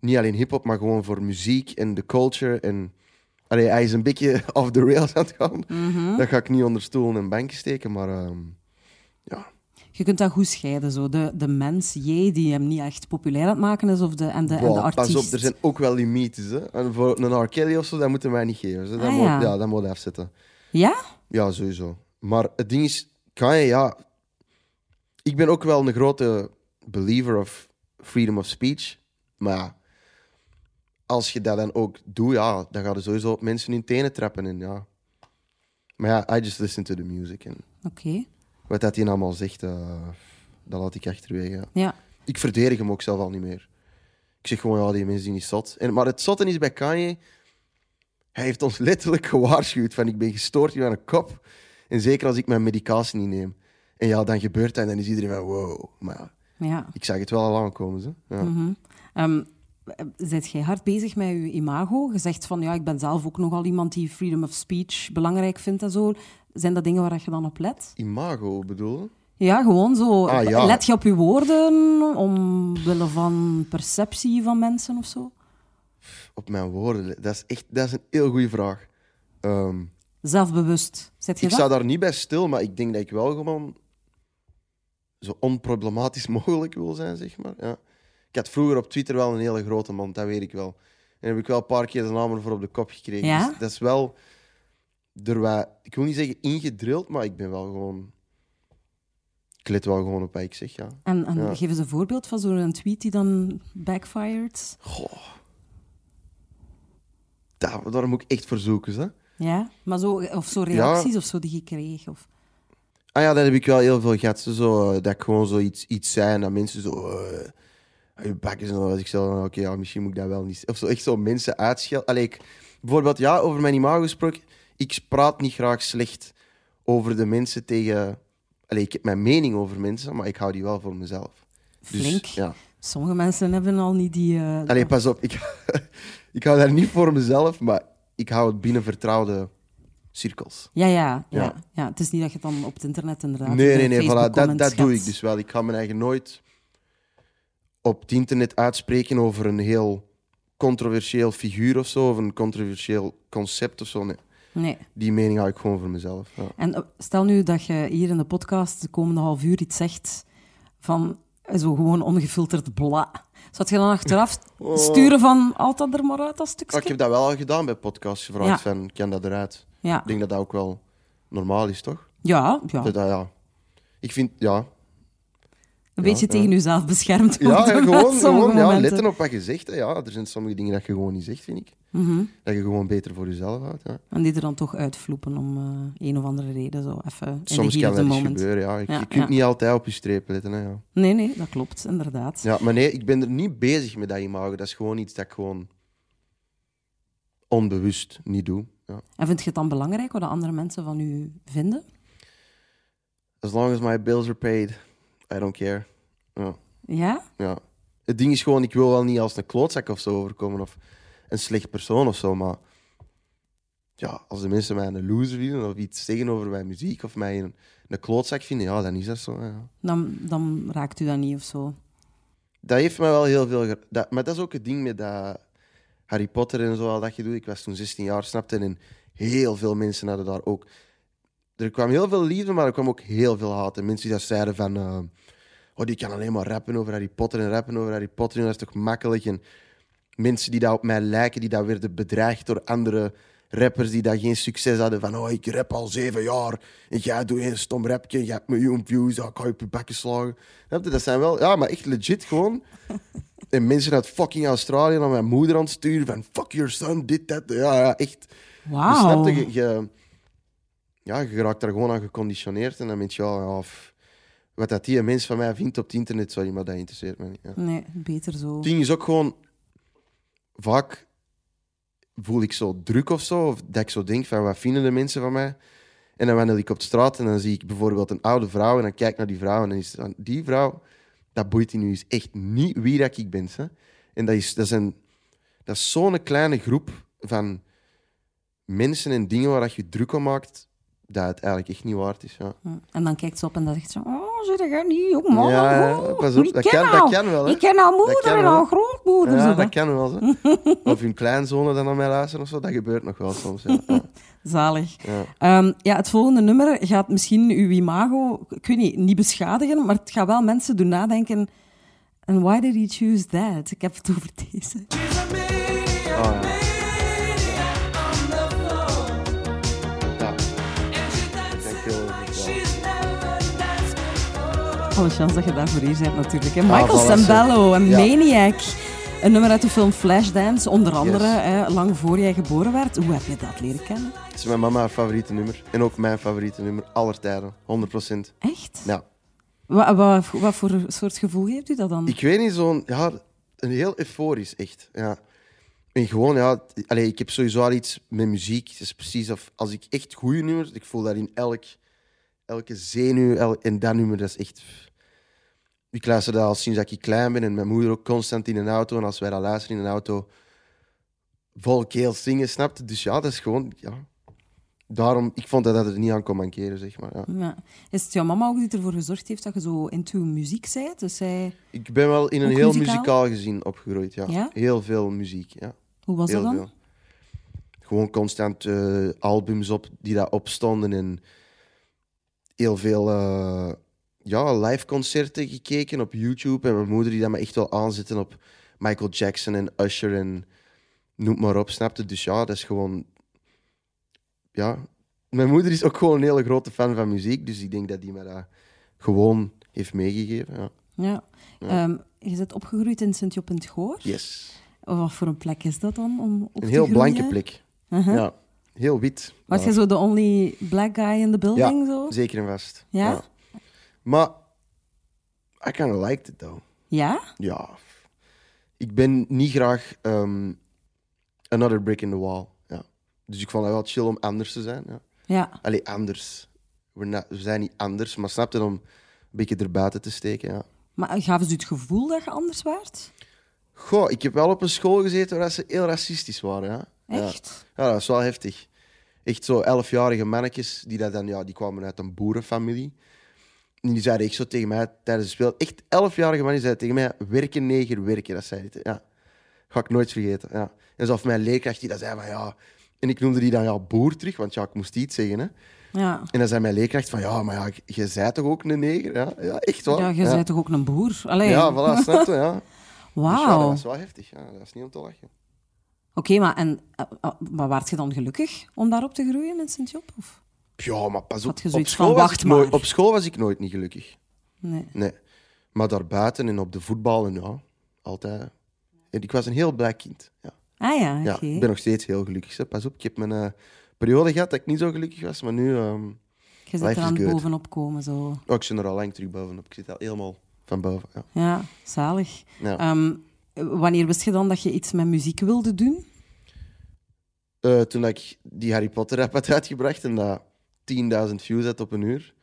Speaker 3: niet alleen hip-hop, maar gewoon voor muziek en de culture. En, allee, hij is een beetje off the rails aan het gaan.
Speaker 2: Mhm.
Speaker 3: Dat ga ik niet onder stoelen en banken steken, maar ehm, ja.
Speaker 2: Je kunt dat goed scheiden. Zo. De, de mens J die hem niet echt populair aan het maken is, of de, en, de, en de
Speaker 3: Wow,
Speaker 2: artiest.
Speaker 3: pas op, er zijn ook wel limieten. Hè? En voor een R. Kelly of zo, dat moeten wij niet geven. hè. Dat
Speaker 2: Ah,
Speaker 3: moet,
Speaker 2: ja.
Speaker 3: ja. dat moet hij afzetten.
Speaker 2: Ja?
Speaker 3: Ja, sowieso. Maar het ding is, Kanye, ja... Ik ben ook wel een grote believer of freedom of speech. Maar ja, als je dat dan ook doet, ja, dan gaan er sowieso mensen in tenen trappen. En ja. Maar ja, I just listen to the music. En
Speaker 2: Oké.
Speaker 3: wat dat hij allemaal zegt, eh, dat laat ik achterwege. ja.
Speaker 2: Ja.
Speaker 3: Ik verdedig hem ook zelf al niet meer. Ik zeg gewoon, ja, die mensen zijn niet zot. En, maar het zotte is bij Kanye... Hij heeft ons letterlijk gewaarschuwd van ik ben gestoord hier aan een kop. En zeker als ik mijn medicatie niet neem. En ja, dan gebeurt dat en dan is iedereen van wow. Maar ja,
Speaker 2: ja.
Speaker 3: ik zag het wel al aankomen. Zo. Ja.
Speaker 2: Ehm Zit jij hard bezig met je imago? Je zegt van ja, ik ben zelf ook nogal iemand die freedom of speech belangrijk vindt en zo. Zijn dat dingen waar je dan op let?
Speaker 3: Imago bedoel je?
Speaker 2: Ja, gewoon zo.
Speaker 3: Ah, ja.
Speaker 2: Let je op je woorden omwille van perceptie van mensen of zo?
Speaker 3: Op mijn woorden, dat is echt dat is een heel goede vraag. Ehm,
Speaker 2: Zelfbewust. Zet je
Speaker 3: ik
Speaker 2: dat?
Speaker 3: sta daar niet bij stil, maar ik denk dat ik wel gewoon zo onproblematisch mogelijk wil zijn, zeg maar. Ja. Ik had vroeger op Twitter wel een hele grote mond, dat weet ik wel. En heb ik wel een paar keer de namen voor op de kop gekregen.
Speaker 2: Ja?
Speaker 3: Dus dat is wel er wa- ik wil niet zeggen ingedrild, maar ik ben wel gewoon. Ik let wel gewoon op wat ik zeg. Ja.
Speaker 2: En, en
Speaker 3: Ja.
Speaker 2: geef eens een voorbeeld van zo'n tweet die dan backfired.
Speaker 3: Goh. Daar, daar moet ik echt voor zoeken. Hè?
Speaker 2: Ja, maar zo, of zo reacties of zo die je kreeg. Of...
Speaker 3: Ah ja, dat heb ik wel heel veel gehad. Zo, Zo, eh, dat ik gewoon zoiets iets zei en dat mensen zo... eh, uit je bak is en dan was ik zo van, oké, ja, misschien moet ik dat wel niet... Of zo, echt zo mensen uitschelden. Allee, ik, bijvoorbeeld, ja, over mijn imago gesproken. Ik praat niet graag slecht over de mensen tegen... Allee, ik heb mijn mening over mensen, maar ik hou die wel voor mezelf. Dus,
Speaker 2: Flink.
Speaker 3: ja.
Speaker 2: Sommige mensen hebben al niet die. eh,
Speaker 3: Allee, pas op. Ik, ik hou daar niet voor mezelf, maar ik hou het binnen vertrouwde cirkels.
Speaker 2: Ja, ja, ja. ja.
Speaker 3: Ja.
Speaker 2: het is niet dat je het dan op het internet inderdaad... eh,
Speaker 3: Nee, nee,
Speaker 2: in
Speaker 3: nee, voilà, dat,
Speaker 2: Facebook-comments
Speaker 3: dat doe ik
Speaker 2: gaat.
Speaker 3: dus wel. Ik ga mijn eigen nooit op het internet uitspreken over een heel controversieel figuur of zo, of een controversieel concept of zo. Nee,
Speaker 2: Nee.
Speaker 3: die mening hou ik gewoon voor mezelf. Ja.
Speaker 2: En eh, stel nu dat je hier in de podcast de komende half uur iets zegt van eh, zo gewoon ongefilterd bla. Zou je dan achteraf
Speaker 3: Oh.
Speaker 2: sturen van altijd er maar uit dat stukje?
Speaker 3: Maar ik heb dat wel al gedaan bij podcasts, gevraagd
Speaker 2: Ja.
Speaker 3: van, kan dat eruit?
Speaker 2: Ja.
Speaker 3: Ik denk dat dat ook wel normaal is, toch?
Speaker 2: Ja, ja.
Speaker 3: Dat, dat, ja. Ik vind, ja...
Speaker 2: Een beetje
Speaker 3: ja.
Speaker 2: tegen jezelf beschermd
Speaker 3: Ja, ja,
Speaker 2: worden op
Speaker 3: gewoon,
Speaker 2: sommige
Speaker 3: gewoon ja,
Speaker 2: momenten.
Speaker 3: letten op wat je zegt. hè. Ja, er zijn sommige dingen dat je gewoon niet zegt, vind ik.
Speaker 2: Mhm.
Speaker 3: Dat je gewoon beter voor jezelf houdt, ja.
Speaker 2: En die er dan toch uitvloepen om eh, een of andere reden. Zo even in
Speaker 3: Soms
Speaker 2: de heat of the
Speaker 3: kan dat eens
Speaker 2: moment.
Speaker 3: gebeuren, ja. Je,
Speaker 2: Ja,
Speaker 3: je
Speaker 2: ja.
Speaker 3: kunt niet altijd op je streep letten, hè, ja.
Speaker 2: Nee, nee, dat klopt, inderdaad.
Speaker 3: Ja, maar nee, ik ben er niet bezig met dat imago. Dat is gewoon iets dat ik gewoon onbewust niet doe. Ja.
Speaker 2: En vind je het dan belangrijk wat de andere mensen van u vinden?
Speaker 3: As long as my bills are paid, I don't care. Ja,
Speaker 2: Ja?
Speaker 3: ja. Het ding is gewoon, ik wil wel niet als een klootzak of zo overkomen. Of een slecht persoon of zo, maar ja, als de mensen mij een loser vinden of iets zeggen over mijn muziek of mij een, een klootzak vinden, ja, dan is dat zo. Ja.
Speaker 2: Dan, dan raakt u dat niet of zo.
Speaker 3: Dat heeft mij wel heel veel... ge- Dat, maar dat is ook het ding met dat Harry Potter en zo, al dat je doet. Ik was toen 16 jaar, snapte, en heel veel mensen hadden daar ook... Er kwam heel veel liefde, maar er kwam ook heel veel haat. En mensen die dat zeiden van... eh, oh, die kan alleen maar rappen over Harry Potter en rappen over Harry Potter. En dat is toch makkelijk? En mensen die daar op mij lijken, die daar werden bedreigd door andere rappers die daar geen succes hadden. Van, oh, ik rap al zeven jaar en jij doet een stom rapje, je hebt miljoen views, ah, ik ga je op je bekken slagen. Snap je? Dat zijn wel, ja, maar echt legit gewoon. En mensen uit fucking Australië naar mijn moeder aan het sturen van, fuck your son, dit, dat. Ja, ja echt. Dus
Speaker 2: Wauw.
Speaker 3: snap je, je, je- ja, je raakt daar gewoon aan geconditioneerd. En dan denk je, ja, ja, f- wat dat die mens van mij vindt op het internet, sorry, maar dat interesseert me niet. Ja.
Speaker 2: Nee, beter zo.
Speaker 3: Het ding is ook gewoon, vaak voel ik zo druk of zo, of dat ik zo denk van, wat vinden de mensen van mij? En dan wandel ik op straat en dan zie ik bijvoorbeeld een oude vrouw en dan kijk ik naar die vrouw en dan is het van, die vrouw, dat boeit die nu eens echt niet wie dat ik ben. Hè? En dat is, dat is, een- dat is zo'n kleine groep van mensen en dingen waar dat je druk om maakt, dat het eigenlijk echt niet waard is. Ja.
Speaker 2: Hm. En dan kijkt ze op en dan zegt ze... Oh, zit er niet, jong man.
Speaker 3: Ja,
Speaker 2: oh,
Speaker 3: pas op,
Speaker 2: ik
Speaker 3: dat
Speaker 2: ken
Speaker 3: kan- dat
Speaker 2: haar.
Speaker 3: kan wel, hè.
Speaker 2: Ik ken haar moeder
Speaker 3: kan
Speaker 2: en
Speaker 3: wel.
Speaker 2: haar grootmoeder.
Speaker 3: Ja,
Speaker 2: zo,
Speaker 3: dat
Speaker 2: hè.
Speaker 3: kan wel. Zo. Of hun kleinzonen dan naar mij luisteren of zo. Dat gebeurt nog wel soms. Ja. Ja.
Speaker 2: Zalig.
Speaker 3: Ja.
Speaker 2: Ehm, ja, het volgende nummer gaat misschien uw imago, ik weet niet, niet beschadigen, maar het gaat wel mensen doen nadenken. And why did he choose that? Ik heb het over deze.
Speaker 3: Ja. Dank je wel.
Speaker 2: Alle Oh, chance dat je daarvoor hier bent natuurlijk. Hè? Michael
Speaker 3: Ah, voilà,
Speaker 2: Sambello, een
Speaker 3: ja.
Speaker 2: maniac. Een nummer uit de film Flashdance, onder andere,
Speaker 3: Yes.
Speaker 2: hè, lang voor jij geboren werd. Hoe heb je dat leren kennen?
Speaker 3: Het is mijn mama haar favoriete nummer. En ook mijn favoriete nummer. Aller tijden. 100%.
Speaker 2: Echt?
Speaker 3: Ja.
Speaker 2: Wa- wa- wat voor soort gevoel geeft u dat dan?
Speaker 3: Ik weet niet, zo'n... Ja, een heel euforisch, echt. Ja. En gewoon, ja... t- Allee, ik heb sowieso al iets met muziek. Het is precies of... Als ik echt goede nummers... Ik voel dat in elk, elke zenuw. el- en dat nummer, dat is echt... Ik luister dat al sinds dat ik klein ben. En mijn moeder ook constant in een auto. En als wij dat luisteren in een auto... Vol keel zingen, snapte. Dus ja, dat is gewoon... Ja. Daarom... Ik vond dat dat er niet aan kon mankeren, zeg maar. Ja.
Speaker 2: Ja. Is het jouw mama ook die ervoor gezorgd heeft dat je zo into muziek bent? Dus zij...
Speaker 3: Ik ben wel in een
Speaker 2: Ook
Speaker 3: heel
Speaker 2: muzikaal?
Speaker 3: muzikaal gezin opgegroeid. Ja.
Speaker 2: Ja?
Speaker 3: Heel veel muziek. Ja.
Speaker 2: Hoe was
Speaker 3: heel
Speaker 2: dat dan?
Speaker 3: veel. Gewoon constant eh, albums op die daar opstonden en heel veel eh, ja, live concerten gekeken op YouTube. En mijn moeder die dat me echt wel aanzetten op Michael Jackson en Usher en noem maar op, snapte. Dus ja, dat is gewoon... Ja, mijn moeder is ook gewoon een hele grote fan van muziek, dus ik denk dat die me dat gewoon heeft meegegeven. Ja.
Speaker 2: Ja. Ehm, je bent opgegroeid in Sint-Job in het Goor.
Speaker 3: Yes.
Speaker 2: Wat voor een plek is dat dan om op
Speaker 3: Een
Speaker 2: te
Speaker 3: heel
Speaker 2: groeien?
Speaker 3: blanke plek.
Speaker 2: Uh-huh.
Speaker 3: Ja, heel wit.
Speaker 2: Was je zo de only black guy in the building?
Speaker 3: ja,
Speaker 2: Zo?
Speaker 3: zeker en vast.
Speaker 2: Ja?
Speaker 3: Maar I kind of liked it though.
Speaker 2: Ja?
Speaker 3: Ja. Ik ben niet graag ehm, another brick in the wall. Ja. Dus ik vond het wel chill om anders te zijn. Ja.
Speaker 2: Ja.
Speaker 3: Allee, anders. We're not- we zijn niet anders, maar snap je om een beetje erbuiten te steken. Ja.
Speaker 2: Maar gaven ze u het gevoel dat je anders waard?
Speaker 3: Goh, ik heb wel op een school gezeten waar ze heel racistisch waren. Ja. Ja.
Speaker 2: Echt?
Speaker 3: Ja, dat is wel heftig. Echt zo elfjarige mannetjes, die, dat dan, ja, die kwamen uit een boerenfamilie. En die zeiden echt zo tegen mij tijdens het speel. Echt elfjarige mannen zeiden tegen mij, werken neger, werken. Dat zei het, ja. Ga ik nooit vergeten, ja. En zelfs mijn leerkracht die dat zei van, ja... En ik noemde die dan, ja, boer terug, want ja, ik moest iets zeggen, hè.
Speaker 2: Ja.
Speaker 3: En dan zei mijn leerkracht van, ja, maar ja, je zei toch ook een neger, ja? Ja, echt wel.
Speaker 2: Ja, je bent toch ook een boer? Allee.
Speaker 3: Ja, voilà, snap je, ja. Dus ja, dat
Speaker 2: Wauw.
Speaker 3: was
Speaker 2: Oké,
Speaker 3: wel heftig, ja. Dat is niet om te lachen.
Speaker 2: maar, en, eh, eh, maar waart je dan gelukkig om daarop te groeien in Sint-Job? Of?
Speaker 3: Ja, maar pas op.
Speaker 2: Had je
Speaker 3: Op
Speaker 2: zoiets
Speaker 3: school,
Speaker 2: van,
Speaker 3: was
Speaker 2: "Wacht
Speaker 3: ik nooit,
Speaker 2: maar."
Speaker 3: op school was ik nooit niet gelukkig.
Speaker 2: Nee.
Speaker 3: Nee. Maar daarbuiten en op de voetballen, ja. Altijd. En ik was een heel blij kind. Ja.
Speaker 2: Ah ja, oké.
Speaker 3: Ja, ik ben nog steeds heel gelukkig. Hè. Pas op, ik heb mijn eh, periode gehad dat ik niet zo gelukkig was, maar nu... ehm
Speaker 2: Je
Speaker 3: Life
Speaker 2: zit
Speaker 3: is
Speaker 2: er aan
Speaker 3: good.
Speaker 2: het bovenop komen zo.
Speaker 3: oh, ik zit er al lang terug bovenop. Ik zit al helemaal van boven. Ja.
Speaker 2: Ja, zalig.
Speaker 3: Ja.
Speaker 2: Ehm, wanneer wist je dan dat je iets met muziek wilde doen?
Speaker 3: Eh, toen dat ik die Harry Potter app had uitgebracht en dat 10.000 views had op een uur,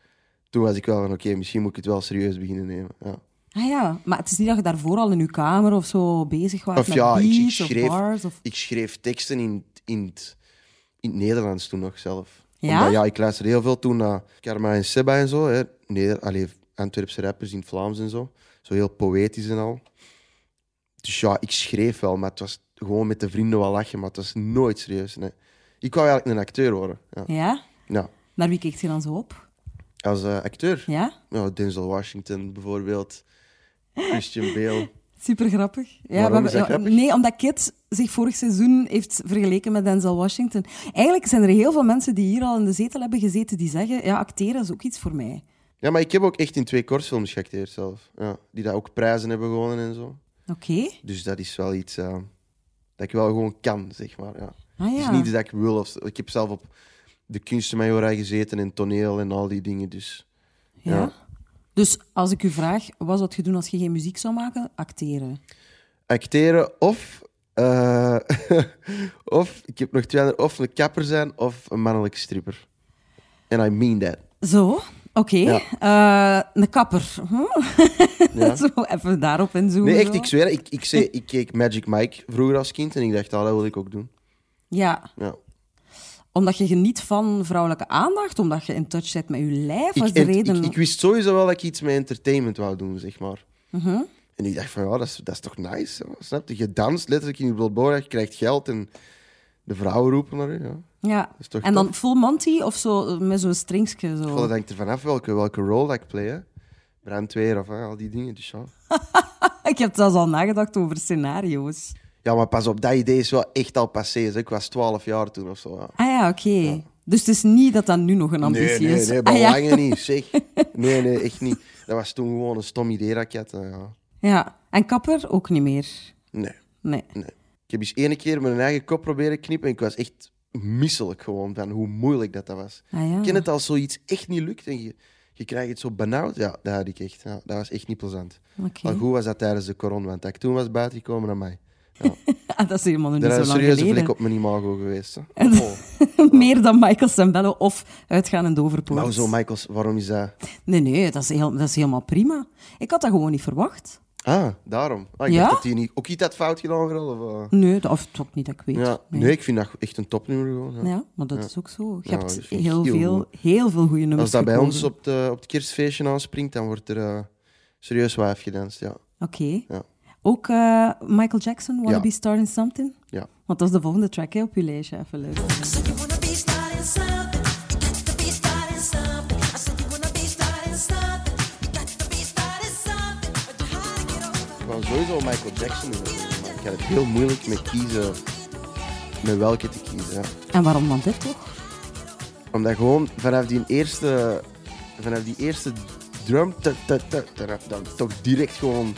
Speaker 3: toen was ik wel van, oké, misschien moet ik het wel serieus beginnen nemen. Ja.
Speaker 2: Ah ja, maar het is niet dat je daarvoor al in je kamer of zo bezig was
Speaker 3: Of
Speaker 2: met
Speaker 3: ja, ik, ik,
Speaker 2: beats
Speaker 3: schreef,
Speaker 2: of bars of...
Speaker 3: ik schreef teksten in, in, het, in het Nederlands toen nog zelf.
Speaker 2: Ja?
Speaker 3: Omdat, ja, ik luisterde heel veel toen naar Karma en Seba en zo. Hè. Neder, allee, Antwerpse rappers in het Vlaams en zo. Zo heel poëtisch en al. Dus ja, ik schreef wel, maar het was gewoon met de vrienden wel lachen, maar het was nooit serieus. Nee. Ik wou eigenlijk een acteur worden. Ja.
Speaker 2: Ja?
Speaker 3: Ja.
Speaker 2: Naar wie keek je dan zo op?
Speaker 3: Als eh, acteur?
Speaker 2: Ja?
Speaker 3: Ja, Denzel Washington bijvoorbeeld. Christian Bale.
Speaker 2: Super grappig. Ja,
Speaker 3: Waarom
Speaker 2: we hebben-
Speaker 3: is
Speaker 2: ja,
Speaker 3: dat grappig?
Speaker 2: Nee, omdat Kit zich vorig seizoen heeft vergeleken met Denzel Washington. Eigenlijk zijn er heel veel mensen die hier al in de zetel hebben gezeten die zeggen, ja, acteren is ook iets voor mij.
Speaker 3: Ja, maar ik heb ook echt in twee kortfilms geacteerd zelf. Ja, die daar ook prijzen hebben gewonnen en zo.
Speaker 2: Oké.
Speaker 3: Dus dat is wel iets eh, dat ik wel gewoon kan, zeg maar. Ja.
Speaker 2: Ah
Speaker 3: Het is
Speaker 2: ja.
Speaker 3: niet iets dat ik wil. Of, ik heb zelf op de kunstenmajorij gezeten en toneel en al die dingen. Dus
Speaker 2: ja.
Speaker 3: ja.
Speaker 2: Dus als ik u vraag, wat zou je doen als je geen muziek zou maken? Acteren.
Speaker 3: acteren of... eh, of, ik heb nog twee andere, of een kapper zijn of een mannelijke stripper. And I mean that.
Speaker 2: Zo, oké. Eh, een kapper. Hm?
Speaker 3: Ja.
Speaker 2: Zo even daarop inzoomen.
Speaker 3: Nee, echt,
Speaker 2: zo.
Speaker 3: ik zweer, ik, ik, zei, ik keek Magic Mike vroeger als kind en ik dacht, ah, dat wil ik ook doen.
Speaker 2: Ja,
Speaker 3: Ja.
Speaker 2: omdat je geniet van vrouwelijke aandacht, omdat je in touch zit met je lijf. Wat is
Speaker 3: Ik,
Speaker 2: de
Speaker 3: en- ik,
Speaker 2: reden?
Speaker 3: ik wist sowieso wel dat ik iets met entertainment wou doen, zeg maar.
Speaker 2: Mhm.
Speaker 3: En ik dacht van, ja, dat is, dat is toch nice? hè? Snap je? Je danst letterlijk in je bloedboren, je krijgt geld en de vrouwen roepen naar je. Ja.
Speaker 2: ja.
Speaker 3: is toch
Speaker 2: En dan
Speaker 3: tof?
Speaker 2: full monty of zo, eh, met zo'n stringsje. Zo.
Speaker 3: Wel, Dat hangt er vanaf welke, welke rol dat ik play. Hè. Brandweer of hè, al die dingen. Dus ja.
Speaker 2: Ik heb zelfs al nagedacht over scenario's.
Speaker 3: ja, maar pas op, dat idee is wel echt al passé. hè. Ik was 12 jaar toen of zo. Ja.
Speaker 2: Ah ja, oké. Dus het is niet dat dat nu nog een ambitie
Speaker 3: Nee, nee,
Speaker 2: is.
Speaker 3: nee,
Speaker 2: ah, ja.
Speaker 3: belangen niet, zeg. Nee, nee, echt niet. Dat was toen gewoon een stom idee dat ik had. hè, Ja.
Speaker 2: ja, en kapper ook niet meer.
Speaker 3: Nee.
Speaker 2: Nee.
Speaker 3: Ik heb eens ene keer mijn eigen kop proberen knippen en ik was echt misselijk gewoon van hoe moeilijk dat, dat was.
Speaker 2: Ah, ja.
Speaker 3: Ik ken het als zoiets echt niet lukt en je, je krijgt het zo benauwd. Ja, dat had ik echt. Ja, dat was echt niet plezant.
Speaker 2: Oké.
Speaker 3: Maar goed was dat tijdens de corona, want dat ik toen was buitengekomen aan mij.
Speaker 2: Ah, dat is helemaal nog niet
Speaker 3: Daar
Speaker 2: zo
Speaker 3: is een
Speaker 2: lang
Speaker 3: serieuze
Speaker 2: geleden.
Speaker 3: vlek op mijn imago geweest. Hè. Oh.
Speaker 2: Meer dan Michael Sembello of uitgaan in Doverpoort.
Speaker 3: Maar zo, Michaels, waarom is dat?
Speaker 2: Nee, nee, dat is, heel, dat is helemaal prima. Ik had dat gewoon niet verwacht.
Speaker 3: Ah, daarom. Ah, ik
Speaker 2: Ja?
Speaker 3: dacht dat hij niet, ook iets had fout gedaan vooral. Of, eh?
Speaker 2: Nee, dat, of toch niet dat ik weet.
Speaker 3: Ja, nee. ik vind dat echt een topnummer gewoon. ja.
Speaker 2: Ja, maar dat is ook zo. Je
Speaker 3: Ja,
Speaker 2: hebt
Speaker 3: dat vind ik
Speaker 2: heel,
Speaker 3: heel
Speaker 2: veel,
Speaker 3: goed.
Speaker 2: heel veel goede nummers
Speaker 3: Als dat bij ons
Speaker 2: gekozen.
Speaker 3: op, de, op het kerstfeestje aanspringt, dan wordt er eh, serieus wijf gedanst. Ja.
Speaker 2: Oké.
Speaker 3: Ja.
Speaker 2: Ook eh, Michael Jackson, Wanna
Speaker 3: Ja.
Speaker 2: Be Starting Something?
Speaker 3: Ja.
Speaker 2: Want dat is de volgende track hè, op je lijstje. Even luisteren.
Speaker 5: I said you wanna be starting something. You got to be starting something. I said you wanna be starting something. You got to be starting something. But you had to get over.
Speaker 3: Ik wou sowieso Michael Jackson willen doen, maar ik had het heel moeilijk met kiezen, met welke te kiezen. ja.
Speaker 2: En waarom dan dit toch?
Speaker 3: Omdat gewoon vanaf die eerste, vanaf die eerste drum, ta- ta- ta- ta- dan toch direct gewoon,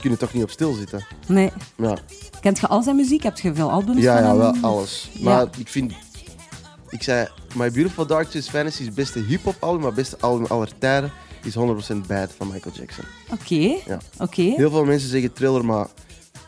Speaker 3: kun je toch niet op stilzitten.
Speaker 2: Nee.
Speaker 3: Ja,
Speaker 2: Kent je al zijn muziek? Heb je veel albums
Speaker 3: ja,
Speaker 2: van
Speaker 3: ja
Speaker 2: hem?
Speaker 3: wel alles.
Speaker 2: Ja.
Speaker 3: Maar ik vind, ik zei, My Beautiful Dark Twisted Fantasy is het beste hip-hop album, maar het beste album aller tijden is 100% Bad van Michael Jackson.
Speaker 2: Oké.
Speaker 3: Ja.
Speaker 2: Oké.
Speaker 3: Heel veel mensen zeggen thriller, maar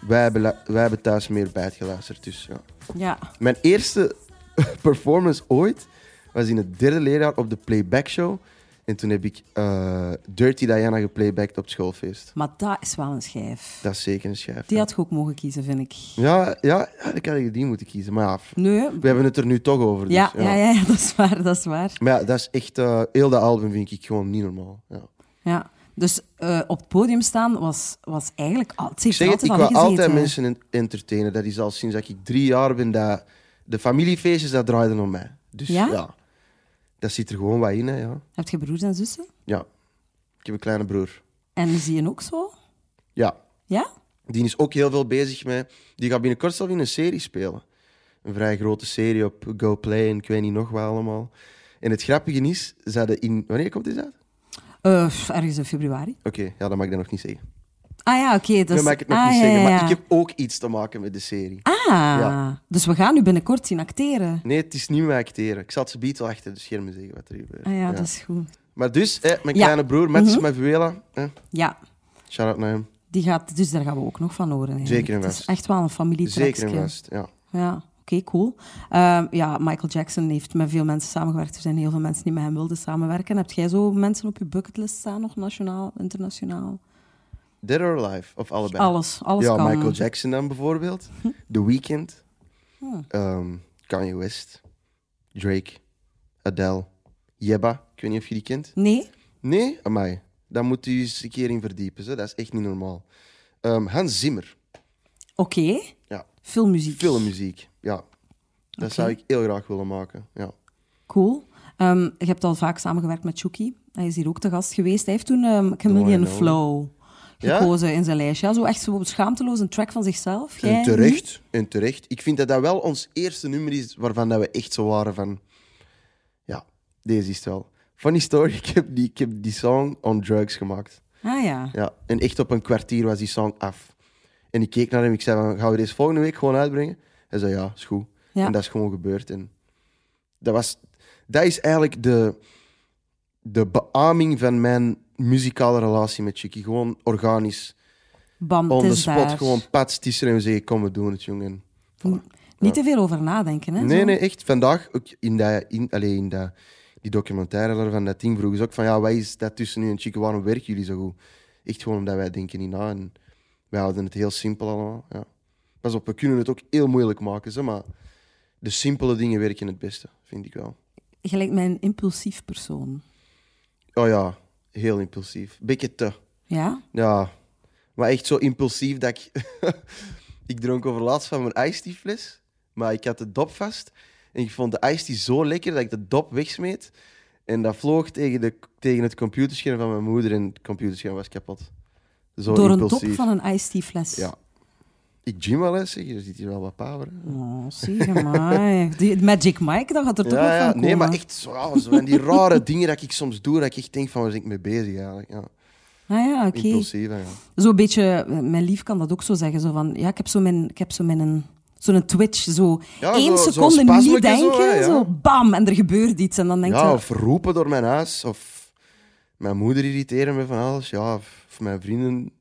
Speaker 3: wij hebben, la- wij hebben thuis meer Bad geluisterd, dus ja.
Speaker 2: Ja.
Speaker 3: Mijn eerste performance ooit was in het derde leerjaar op de playback show. En toen heb ik eh, Dirty Diana geplaybacked op het schoolfeest.
Speaker 2: Maar dat is wel een schijf.
Speaker 3: Dat is zeker een schijf.
Speaker 2: Die
Speaker 3: ja.
Speaker 2: had je ook mogen kiezen, vind ik.
Speaker 3: Ja, ja, ja, ik had die moeten kiezen. Maar ja, f-
Speaker 2: Nee.
Speaker 3: we hebben het er nu toch over. Dus,
Speaker 2: Ja, ja, ja, ja, dat is waar, dat is waar.
Speaker 3: Maar ja, dat is echt... eh, heel dat album vind ik gewoon niet normaal. Ja.
Speaker 2: Ja. Dus eh, op het podium staan was, was eigenlijk altijd...
Speaker 3: Ik zeg het, ik wil altijd mensen en- entertainen. Dat is al sinds dat ik drie jaar ben. Dat, de familiefeestjes, dat draaiden om mij. Dus
Speaker 2: Ja?
Speaker 3: ja, dat zit er gewoon wat in. Hè, ja.
Speaker 2: Heb je broers en zussen?
Speaker 3: ja, ik heb een kleine broer.
Speaker 2: En zie je ook zo?
Speaker 3: Ja,
Speaker 2: Ja?
Speaker 3: Die is ook heel veel bezig met. Die gaat binnenkort zelf in een serie spelen. Een vrij grote serie op Go Play en ik weet niet nog wat allemaal. En het grappige is, ze hadden in. Wanneer komt dit uit?
Speaker 2: Eh, pff, ergens in februari.
Speaker 3: Oké, ja, dat mag ik dan nog niet zeggen.
Speaker 2: Ah ja, oké. dus...
Speaker 3: Dan mag ik het nog
Speaker 2: ah,
Speaker 3: niet
Speaker 2: ja,
Speaker 3: zeggen.
Speaker 2: ja,
Speaker 3: Maar
Speaker 2: ja.
Speaker 3: ik heb ook iets te maken met de serie.
Speaker 2: Ah,
Speaker 3: Ja.
Speaker 2: dus we gaan nu binnenkort zien acteren.
Speaker 3: Nee, het is niet mijn acteren. Ik zal ze beat wel achter de schermen zeggen wat er gebeurt.
Speaker 2: Ah ja,
Speaker 3: Ja.
Speaker 2: dat is goed.
Speaker 3: Maar dus, hè, mijn
Speaker 2: Ja. Mhm.
Speaker 3: kleine broer, Mats Mavuela. Hè,
Speaker 2: Ja,
Speaker 3: shout out naar hem.
Speaker 2: die gaat, dus daar gaan we ook nog van horen. eigenlijk.
Speaker 3: Zeker en
Speaker 2: Het is
Speaker 3: vast.
Speaker 2: echt wel een
Speaker 3: Zeker en
Speaker 2: familietrackje.
Speaker 3: vast. Ja.
Speaker 2: Ja, oké, cool. Ehm, ja, Michael Jackson heeft met veel mensen samengewerkt. Er zijn heel veel mensen die met hem wilden samenwerken. Heb jij zo mensen op je bucketlist staan, nog nationaal, internationaal?
Speaker 3: Dead or Alive? Of allebei?
Speaker 2: Alles, alles
Speaker 3: ja,
Speaker 2: kan.
Speaker 3: Michael Jackson dan bijvoorbeeld. The Weeknd.
Speaker 2: Hm.
Speaker 3: Ehm, Kanye West. Drake. Adele. Jebba. Ik weet niet of je die kent.
Speaker 2: Nee?
Speaker 3: Nee? Amai. Daar moet u eens een keer in verdiepen. Zo. Dat is echt niet normaal. Ehm, Hans Zimmer.
Speaker 2: Oké.
Speaker 3: Ja.
Speaker 2: Filmmuziek.
Speaker 3: Filmmuziek. Ja. Dat zou
Speaker 2: Oké.
Speaker 3: ik heel graag willen maken. Ja.
Speaker 2: Cool. Ehm je hebt al vaak samengewerkt met Chucky. Hij is hier ook te gast geweest. Hij heeft toen ehm Chameleon
Speaker 3: Mooi, nou.
Speaker 2: Flow
Speaker 3: Ja?
Speaker 2: gekozen in zijn lijstje. Ja, zo echt zo schaamteloos een track van zichzelf. Jij
Speaker 3: En
Speaker 2: niet?
Speaker 3: terecht, en terecht. Ik vind dat dat wel ons eerste nummer is waarvan dat we echt zo waren van... Ja, deze is het wel. Funny story, ik heb die, ik heb die song on drugs gemaakt.
Speaker 2: Ah ja.
Speaker 3: Ja, en echt op een kwartier was die song af. En ik keek naar hem, ik zei van, gaan we deze volgende week gewoon uitbrengen? Hij zei, ja, is goed.
Speaker 2: Ja.
Speaker 3: En dat is gewoon gebeurd. En dat, was, dat is eigenlijk de, de beaming van mijn muzikale relatie met Chicky. Gewoon organisch,
Speaker 2: Bam,
Speaker 3: on
Speaker 2: het
Speaker 3: the
Speaker 2: is
Speaker 3: spot,
Speaker 2: daar.
Speaker 3: gewoon pats tissen en we zeggen, kom, we doen het, jongen.
Speaker 2: Niet te veel over nadenken, hè?
Speaker 3: Nee,
Speaker 2: zo.
Speaker 3: nee, echt. Vandaag, ook in, dat, in, allee, in dat, die documentaire daarvan, dat ding vroegen ze ook van, ja, wat is dat tussen u en Chico? Waarom werken jullie zo goed? Echt gewoon omdat wij denken niet na en wij houden het heel simpel allemaal. Ja. Pas op, we kunnen het ook heel moeilijk maken, zeg maar de simpele dingen werken het beste, vind ik wel.
Speaker 2: Gelijk mijn impulsief persoon.
Speaker 3: Oh ja, heel impulsief. Beetje te.
Speaker 2: Ja?
Speaker 3: Ja, maar echt zo impulsief dat ik... ik dronk overlaatst van mijn iced tea fles, maar ik had de dop vast. En ik vond de iced tea zo lekker dat ik de dop wegsmeet. En dat vloog tegen, de, tegen het computerscherm van mijn moeder en het computerscherm was kapot. Zo
Speaker 2: Door een
Speaker 3: impulsief.
Speaker 2: top van een iced tea fles.
Speaker 3: Ja. Ik gym wel eens, zeg. Er zit hier wel wat power. hè.
Speaker 2: Oh, zie je maar. Die Magic Mike, dat gaat er toch wel van komen.
Speaker 3: Nee, maar echt zo, ja, zo van die rare dingen dat ik soms doe, dat ik echt denk van, waar ben ik mee bezig eigenlijk? Ja.
Speaker 2: Ah ja, oké.
Speaker 3: Impulsief, hè, ja.
Speaker 2: Zo'n beetje, eh, mijn lief kan dat ook zo zeggen. Zo van, ja, ik heb zo mijn, ik heb zo mijn een, zo'n twitch, zo
Speaker 3: Ja,
Speaker 2: één
Speaker 3: zo- zo'n
Speaker 2: seconde niet
Speaker 3: spasmetje zo,
Speaker 2: denken, zo,
Speaker 3: hè, ja.
Speaker 2: bam, en er gebeurt iets. En dan denk
Speaker 3: Ja,
Speaker 2: je,
Speaker 3: of roepen door mijn huis, of mijn moeder irriteren me van alles, ja, of, of mijn vrienden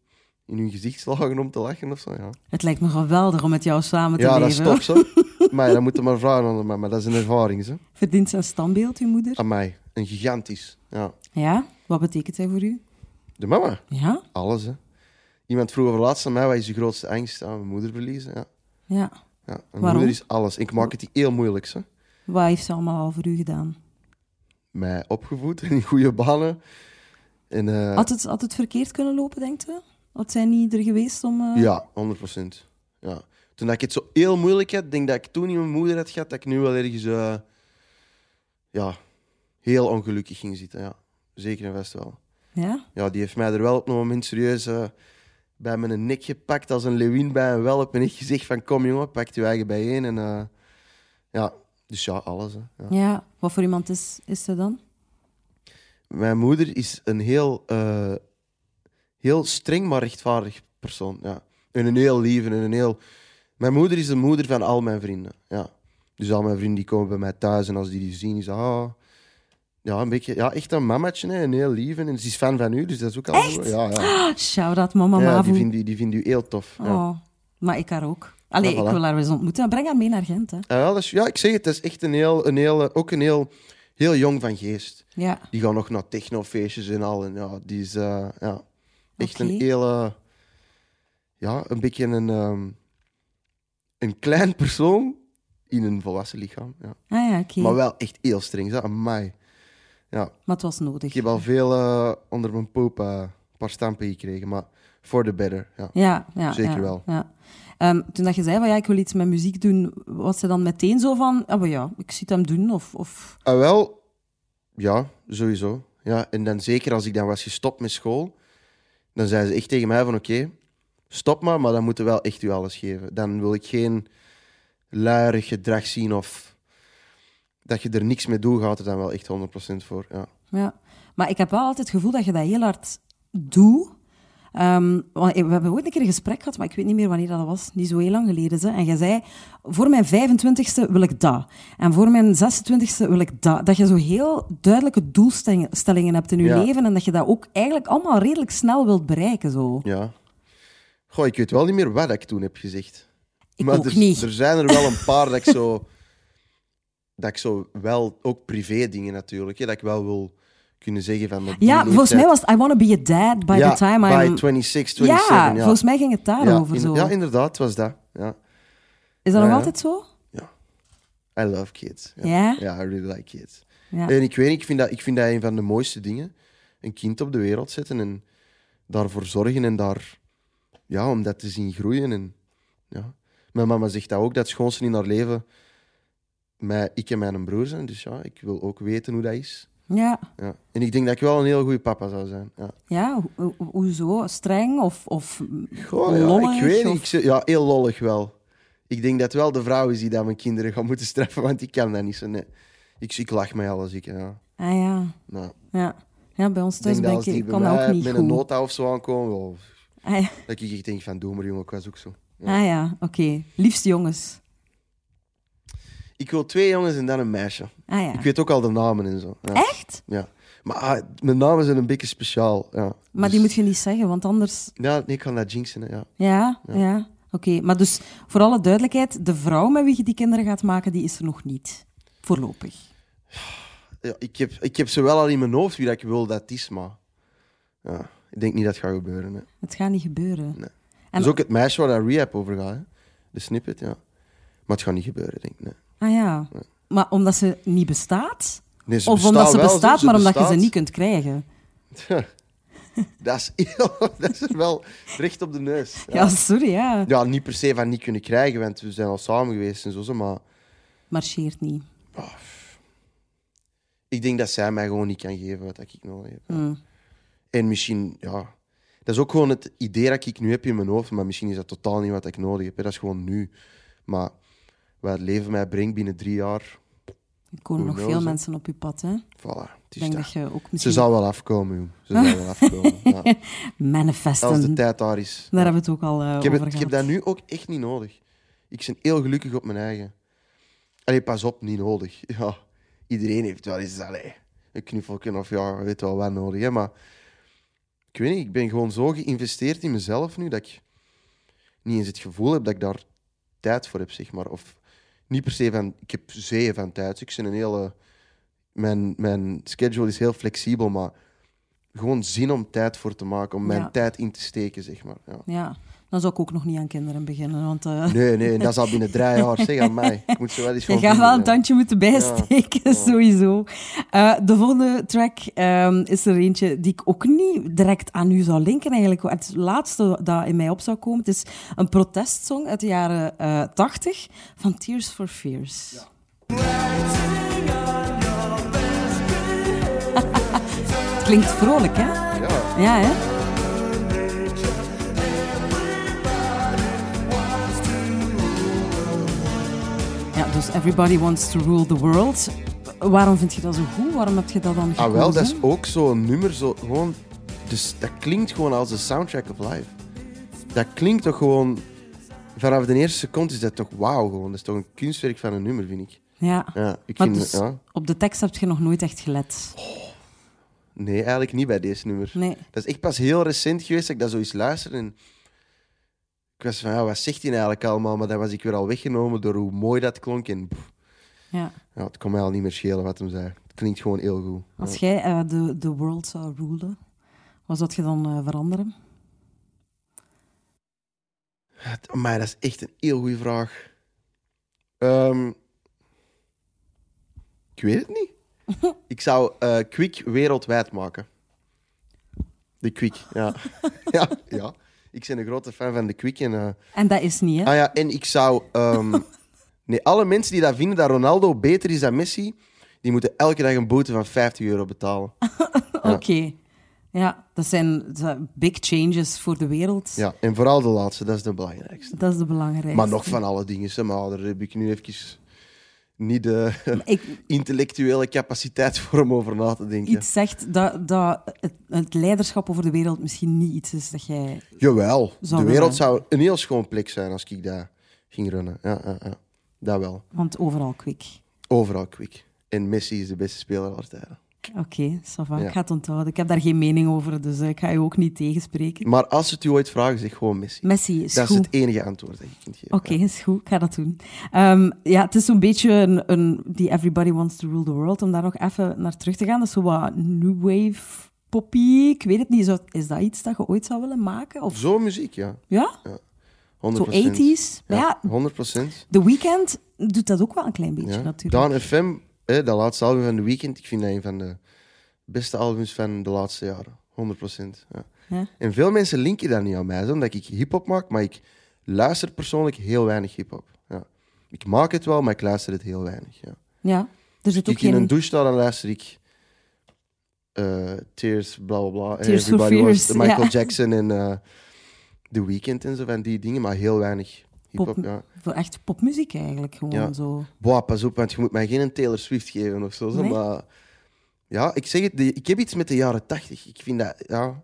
Speaker 3: in hun gezicht slagen om te lachen of zo, ja.
Speaker 2: het lijkt me geweldig om met jou samen te
Speaker 3: Ja, dat is
Speaker 2: leven.
Speaker 3: tof, zo. Maar ja, dat moet je maar vragen aan mij, maar dat is een ervaring, zo.
Speaker 2: Verdient zijn standbeeld, uw moeder?
Speaker 3: Aan mij, een gigantisch, ja.
Speaker 2: Ja? Wat betekent hij voor u?
Speaker 3: De mama,
Speaker 2: Ja?
Speaker 3: alles, hè. Iemand vroeg over laatst aan mij, wat is je grootste angst? aan mijn moeder verliezen, ja.
Speaker 2: Ja.
Speaker 3: ja. Mijn
Speaker 2: Waarom?
Speaker 3: moeder is alles. Ik maak het heel moeilijk, zo.
Speaker 2: Wat heeft ze allemaal al voor u gedaan?
Speaker 3: mij opgevoed in goede banen. En, eh,
Speaker 2: Had het, had het verkeerd kunnen lopen, denkt u? Had zij niet er geweest om... eh,
Speaker 3: Ja, 100 procent. Ja. Toen dat ik het zo heel moeilijk had, denk dat ik toen niet mijn moeder had gehad, dat ik nu wel ergens eh, ja, heel ongelukkig ging zitten. Ja. Zeker en vast wel.
Speaker 2: ja?
Speaker 3: Ja, die heeft mij er wel op een moment serieus eh, bij mijn nek gepakt als een leeuwin bij een welp. En echt gezegd van, kom jongen, pak je eigen bijeen. En, eh, ja, dus ja, alles. Hè. Ja.
Speaker 2: Ja, wat voor iemand is, is ze dan?
Speaker 3: Mijn moeder is een heel, eh, heel streng, maar rechtvaardig persoon. Ja. En een heel lieve en een heel... Mijn moeder is de moeder van al mijn vrienden. Ja. Dus al mijn vrienden die komen bij mij thuis en als die die zien, is dat... ah, ja, een beetje, ja, echt een mammatje, hè, een heel lieve. En ze is fan van u, dus dat is ook al... Echt? Ja, ja.
Speaker 2: Ah, shout-out, mama
Speaker 3: ja die,
Speaker 2: Mavo.
Speaker 3: vindt, u- die vindt u heel tof. Ja.
Speaker 2: Oh, maar ik haar ook. Allee,
Speaker 3: Ja,
Speaker 2: ik
Speaker 3: voilà.
Speaker 2: wil haar eens ontmoeten. Breng haar mee naar Gent, hè.
Speaker 3: Ja, dat is- ja, ik zeg het, dat is echt een heel, een heel, eh, ook een heel, heel jong van geest.
Speaker 2: Ja.
Speaker 3: Die gaan nog naar technofeestjes en al. En ja, die is eh, ja, echt
Speaker 2: Oké.
Speaker 3: een hele... Ja, een beetje een, ehm, een klein persoon in een volwassen lichaam. Ja.
Speaker 2: Ah ja, oké.
Speaker 3: Maar
Speaker 2: Maar,
Speaker 3: wel echt heel streng. Zeg, amai. Ja,
Speaker 2: het was nodig.
Speaker 3: ik heb al veel eh, onder mijn poep eh, een paar stampen gekregen, maar for the better. Ja.
Speaker 2: Ja, ja.
Speaker 3: Zeker
Speaker 2: ja,
Speaker 3: wel.
Speaker 2: Ja. Ehm, toen dat je zei van ja, ik wil iets met muziek doen, was ze dan meteen zo van, ah, maar ja, ik zie het hem doen? Of, of...
Speaker 3: Ah, wel, ja, sowieso. Ja, en dan zeker als ik dan was gestopt met school, dan zei ze echt tegen mij van oké, stop maar, maar dan moeten wel echt u alles geven. Dan wil ik geen luierig gedrag zien of dat je er niks mee doet, gaat er dan wel echt 100% voor. Ja.
Speaker 2: Ja. Maar ik heb wel altijd het gevoel dat je dat heel hard doet. Ehm, want we hebben ooit een keer een gesprek gehad, maar ik weet niet meer wanneer dat was. Niet zo heel lang geleden. Ze. En jij zei, voor mijn 25ste wil ik dat. En voor mijn 26ste wil ik dat. Dat je zo heel duidelijke doelstellingen hebt in je
Speaker 3: Ja.
Speaker 2: leven. En dat je dat ook eigenlijk allemaal redelijk snel wilt bereiken. Zo.
Speaker 3: ja. Goh, ik weet wel niet meer wat ik toen heb gezegd.
Speaker 2: Ik
Speaker 3: maar
Speaker 2: ook
Speaker 3: er,
Speaker 2: niet.
Speaker 3: er zijn er wel een paar dat ik zo... Dat ik zo wel, ook privé dingen natuurlijk, hè, dat ik wel wil kunnen zeggen van... op die
Speaker 2: Ja, volgens mij
Speaker 3: leeftijd-
Speaker 2: was het I Wanna Be a Dad by
Speaker 3: ja,
Speaker 2: the time
Speaker 3: by
Speaker 2: I'm...
Speaker 3: 26, 27.
Speaker 2: ja,
Speaker 3: Ja,
Speaker 2: volgens mij ging het
Speaker 3: ja,
Speaker 2: daarover
Speaker 3: in-
Speaker 2: zo.
Speaker 3: Ja, inderdaad, het was dat. Ja.
Speaker 2: Is dat nog
Speaker 3: ja.
Speaker 2: altijd zo?
Speaker 3: I love kids. Ja,
Speaker 2: Ja?
Speaker 3: I really like kids.
Speaker 2: Ja.
Speaker 3: En ik weet niet, ik vind, dat, ik vind dat een van de mooiste dingen. Een kind op de wereld zetten en daarvoor zorgen en daar, ja, om dat te zien groeien. En, ja. Mijn mama zegt dat ook, dat het schoonste in haar leven mij, ik en mijn broer zijn. Dus ja, ik wil ook weten hoe dat is.
Speaker 2: Ja.
Speaker 3: Ja. En ik denk dat ik wel een heel goede papa zou zijn. Ja.
Speaker 2: Ja, ho- ho- hoezo? Streng of, of m,
Speaker 3: Goh, ja,
Speaker 2: lollig?
Speaker 3: ik weet
Speaker 2: of-
Speaker 3: niet. Ik zeg- Ja, heel lollig wel. Ik denk dat wel de vrouw is die dat mijn kinderen gaat moeten straffen, want ik kan dat niet zo. Nee. Ik, ik lach mij alles. Ik, ja.
Speaker 2: Ah ja,
Speaker 3: Nou,
Speaker 2: ja. ja bij ons
Speaker 3: ik
Speaker 2: thuis
Speaker 3: denk dat
Speaker 2: ben ik,
Speaker 3: als die
Speaker 2: ik
Speaker 3: bij
Speaker 2: kan dat
Speaker 3: mij
Speaker 2: ook niet
Speaker 3: met
Speaker 2: goed.
Speaker 3: een nota of zo aankomen, wel,
Speaker 2: Ah ja,
Speaker 3: dat ik echt denk van doe maar jongen, ik was ook zo.
Speaker 2: ah, ja. oké. Liefste jongens.
Speaker 3: Ik wil twee jongens en dan een meisje.
Speaker 2: Ah ja.
Speaker 3: Ik weet ook al de namen en zo. Ja.
Speaker 2: Echt?
Speaker 3: Ja. Maar ah, mijn namen zijn een beetje speciaal. Ja. Dus-
Speaker 2: Maar die moet je niet zeggen, want anders...
Speaker 3: Ja, nee, ik kan dat jinxen. hè, Ja.
Speaker 2: Ja, ja. Oké, maar dus voor alle duidelijkheid, de vrouw met wie je die kinderen gaat maken, die is er nog niet. Voorlopig.
Speaker 3: Ja, ik, heb, ik heb ze wel al in mijn hoofd wie dat ik wil dat is, maar ja, ik denk niet dat het gaat gebeuren. Hè.
Speaker 2: Het gaat niet gebeuren.
Speaker 3: Nee.
Speaker 2: En-
Speaker 3: Dus ook het meisje waar dat rehab over gaat, hè? de snippet, ja. Maar het gaat niet gebeuren, denk ik. Nee,
Speaker 2: Ah ja. Maar omdat ze niet bestaat?
Speaker 3: Nee, ze
Speaker 2: of omdat
Speaker 3: bestaan
Speaker 2: ze
Speaker 3: wel,
Speaker 2: bestaat, maar omdat je
Speaker 3: bestaat.
Speaker 2: ze niet kunt krijgen?
Speaker 3: Dat is, heel- dat is er wel recht op de neus.
Speaker 2: Ja, sorry, ja.
Speaker 3: Ja, niet per se van niet kunnen krijgen, want we zijn al samen geweest en zo, zo, maar
Speaker 2: Marcheert niet.
Speaker 3: ik denk dat zij mij gewoon niet kan geven wat ik nodig heb. ja.
Speaker 2: Hmm.
Speaker 3: En misschien, ja... Dat is ook gewoon het idee dat ik nu heb in mijn hoofd, maar misschien is dat totaal niet wat ik nodig heb. hè. Dat is gewoon nu. Maar wat het leven mij brengt binnen drie jaar,
Speaker 2: Er komen
Speaker 3: Who
Speaker 2: nog
Speaker 3: knows,
Speaker 2: veel
Speaker 3: hè?
Speaker 2: mensen op je pad, hè?
Speaker 3: voilà,
Speaker 2: Ik
Speaker 3: het is
Speaker 2: denk
Speaker 3: dat.
Speaker 2: dat je ook
Speaker 3: Ze
Speaker 2: misschien
Speaker 3: zal wel afkomen, joh. Ze zal wel afkomen, ja. Als de
Speaker 2: manifesten.
Speaker 3: tijd daar is.
Speaker 2: Daar hebben we het ook al eh
Speaker 3: Ik heb,
Speaker 2: over
Speaker 3: het, ik heb
Speaker 2: gehad.
Speaker 3: dat nu ook echt niet nodig. Ik ben heel gelukkig op mijn eigen. Allee, pas op, niet nodig. Ja, iedereen heeft wel eens allee, een knuffelje of ja, weet wel wat nodig. Hè, maar ik weet niet, ik ben gewoon zo geïnvesteerd in mezelf nu dat ik niet eens het gevoel heb dat ik daar tijd voor heb, zeg maar. Of niet per se van, ik heb zeeën van tijd. Ik ben een hele... Mijn, mijn schedule is heel flexibel, maar gewoon zin om tijd voor te maken, om mijn
Speaker 2: Ja.
Speaker 3: tijd in te steken, zeg maar. Ja.
Speaker 2: Ja, dan zou ik ook nog niet aan kinderen beginnen, want eh,
Speaker 3: Nee, nee, en dat is al binnen drie jaar. Zeg aan mij. Ik moet ze wel eens
Speaker 2: je
Speaker 3: van
Speaker 2: gaat wel
Speaker 3: vinden,
Speaker 2: een
Speaker 3: ja.
Speaker 2: tandje moeten bijsteken, sowieso. Eh, de volgende track ehm, is er eentje die ik ook niet direct aan u zou linken, eigenlijk. Het laatste dat in mij op zou komen, het is een protestsong uit de jaren eh 80 van Tears for Fears. Het klinkt vrolijk, hè?
Speaker 3: Ja.
Speaker 2: Ja, hè? Ja, dus Everybody Wants to Rule the World. Waarom vind je dat zo goed? Waarom heb je dat dan gekozen?
Speaker 3: Ah, wel, dat is ook zo'n nummer. Zo, gewoon, dus, dat klinkt gewoon als de soundtrack of life. Dat klinkt toch gewoon. Vanaf de eerste seconde is dat toch wauw gewoon. Dat is toch een kunstwerk van een nummer, vind ik.
Speaker 2: Ja.
Speaker 3: Ja, ik
Speaker 2: maar
Speaker 3: vind,
Speaker 2: dus
Speaker 3: ja.
Speaker 2: op de tekst heb je nog nooit echt gelet.
Speaker 3: Nee, eigenlijk niet bij deze nummer.
Speaker 2: Nee.
Speaker 3: Dat is echt pas heel recent geweest dat ik dat zoiets luisterde. En ik was van, ja, wat zegt hij eigenlijk allemaal? Maar dan was ik weer al weggenomen door hoe mooi dat klonk. En pff,
Speaker 2: Ja.
Speaker 3: ja, het kon mij al niet meer schelen wat hem zei. Het klinkt gewoon heel goed.
Speaker 2: Als jij eh, de, de world zou rulen, wat zou je dan eh, veranderen?
Speaker 3: Maar dat is echt een heel goede vraag. Ehm, ik weet het niet. Ik zou eh Quick wereldwijd maken. De Quick, ja. ja, ja. Ik ben een grote fan van de Quick. En, eh,
Speaker 2: En dat is niet, hè?
Speaker 3: ah ja, en ik zou. ehm, nee, alle mensen die dat vinden dat Ronaldo beter is dan Messi, die moeten elke dag een boete van 50 euro betalen.
Speaker 2: Oké. Ja, dat zijn eh, big changes voor de wereld.
Speaker 3: Ja, en vooral de laatste, dat is de belangrijkste.
Speaker 2: Dat is de belangrijkste.
Speaker 3: Maar nog van alle dingen, hè, maar daar heb ik nu even niet de
Speaker 2: Ik-
Speaker 3: intellectuele capaciteit voor om over na te denken.
Speaker 2: iets zegt dat, dat het, het leiderschap over de wereld misschien niet iets is dat jij...
Speaker 3: Jawel,
Speaker 2: Zou
Speaker 3: de
Speaker 2: wel
Speaker 3: wereld
Speaker 2: zijn.
Speaker 3: zou een heel schoon plek zijn als ik daar ging runnen. Ja, ja, ja. Dat wel.
Speaker 2: Want overal kwik.
Speaker 3: Overal kwik. En Messi is de beste speler aller tijden.
Speaker 2: Oké, ça va.
Speaker 3: Ja.
Speaker 2: Ik ga het onthouden. Ik heb daar geen mening over, dus eh, ik ga je ook niet tegenspreken.
Speaker 3: Maar als ze het u ooit vragen, zeg gewoon Messi.
Speaker 2: Messi is
Speaker 3: dat is
Speaker 2: goed.
Speaker 3: het enige antwoord dat je kunt geven.
Speaker 2: Oké, is goed. Ik ga dat doen. Ehm, ja, het is zo'n beetje een, een, die Everybody Wants to Rule the World, om daar nog even naar terug te gaan. Dat is zo wat new wave poppy. Ik weet het niet. Zou- Is dat iets dat je ooit zou willen maken? Of,
Speaker 3: Zo muziek, ja.
Speaker 2: ja?
Speaker 3: 100%.
Speaker 2: Zo 80s? Maar
Speaker 3: Ja,
Speaker 2: ja,
Speaker 3: 100 procent.
Speaker 2: The Weeknd doet dat ook wel een klein beetje,
Speaker 3: Ja.
Speaker 2: natuurlijk.
Speaker 3: Daan FM, hè, dat laatste album van de weekend, ik vind dat een van de beste albums van de laatste jaren. 100 procent. Ja.
Speaker 2: Ja.
Speaker 3: En veel mensen linken dat niet aan mij, zo, omdat ik hip-hop maak, maar ik luister persoonlijk heel weinig hip-hop. Ja. Ik maak het wel, maar ik luister het heel weinig. Ja.
Speaker 2: Ja, er zit ook
Speaker 3: ik in een
Speaker 2: geen...
Speaker 3: douche sta, dan luister ik eh, Tears, bla bla bla. en
Speaker 2: Tears for Fears,
Speaker 3: the Michael
Speaker 2: ja.
Speaker 3: Jackson en eh, The Weeknd en zo van die dingen, maar heel weinig hip-hop.
Speaker 2: Pop-
Speaker 3: Ja.
Speaker 2: Voor echt popmuziek eigenlijk, gewoon
Speaker 3: Ja.
Speaker 2: zo.
Speaker 3: Boah, pas op, want je moet mij geen Taylor Swift geven of zo. zo,
Speaker 2: Nee?
Speaker 3: Maar ja, ik zeg het, die- ik heb iets met de jaren tachtig. Ik vind dat, ja,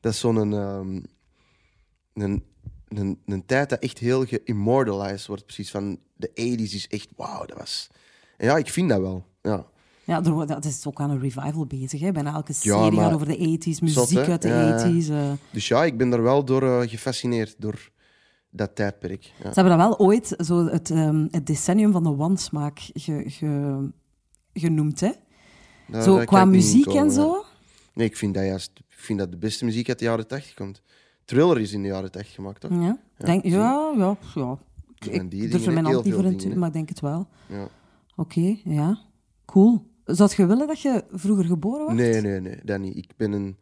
Speaker 3: dat is zo'n ehm, een, een, een tijd dat echt heel geïmmortalized wordt. Precies van de 80s is echt, wauw, dat was. En ja, ik vind dat wel. Ja.
Speaker 2: Ja, er wordt- dat is ook aan een revival bezig. Hè. Bijna elke serie
Speaker 3: Ja, maar-
Speaker 2: gaat over de 80s, muziek
Speaker 3: Zot, hè?
Speaker 2: uit de
Speaker 3: Ja, ja.
Speaker 2: 80s. eh.
Speaker 3: Dus ja, ik ben daar wel door eh, gefascineerd, door dat tijdperk. Ja.
Speaker 2: Ze hebben dat wel ooit zo het, ehm, het decennium van de wansmaak ge- ge- genoemd. Hè.
Speaker 3: Daar-
Speaker 2: zo
Speaker 3: daar
Speaker 2: qua
Speaker 3: kan ik niet
Speaker 2: muziek
Speaker 3: komen,
Speaker 2: en
Speaker 3: ja.
Speaker 2: zo.
Speaker 3: Nee, ik vind dat juist ik vind dat de beste muziek uit de jaren 80 komt. Thriller is in de jaren 80 gemaakt, toch?
Speaker 2: Ja, denk, ja, ja. ja. Ik,
Speaker 3: zijn die
Speaker 2: ik durf er
Speaker 3: dingen,
Speaker 2: mijn
Speaker 3: heel
Speaker 2: hand niet
Speaker 3: veel
Speaker 2: voor in
Speaker 3: dingen,
Speaker 2: te
Speaker 3: hè.
Speaker 2: maar ik denk het wel.
Speaker 3: Ja.
Speaker 2: Oké, ja. Cool. Zou je willen dat je vroeger geboren was?
Speaker 3: Nee, nee, nee, dat niet. Ik ben een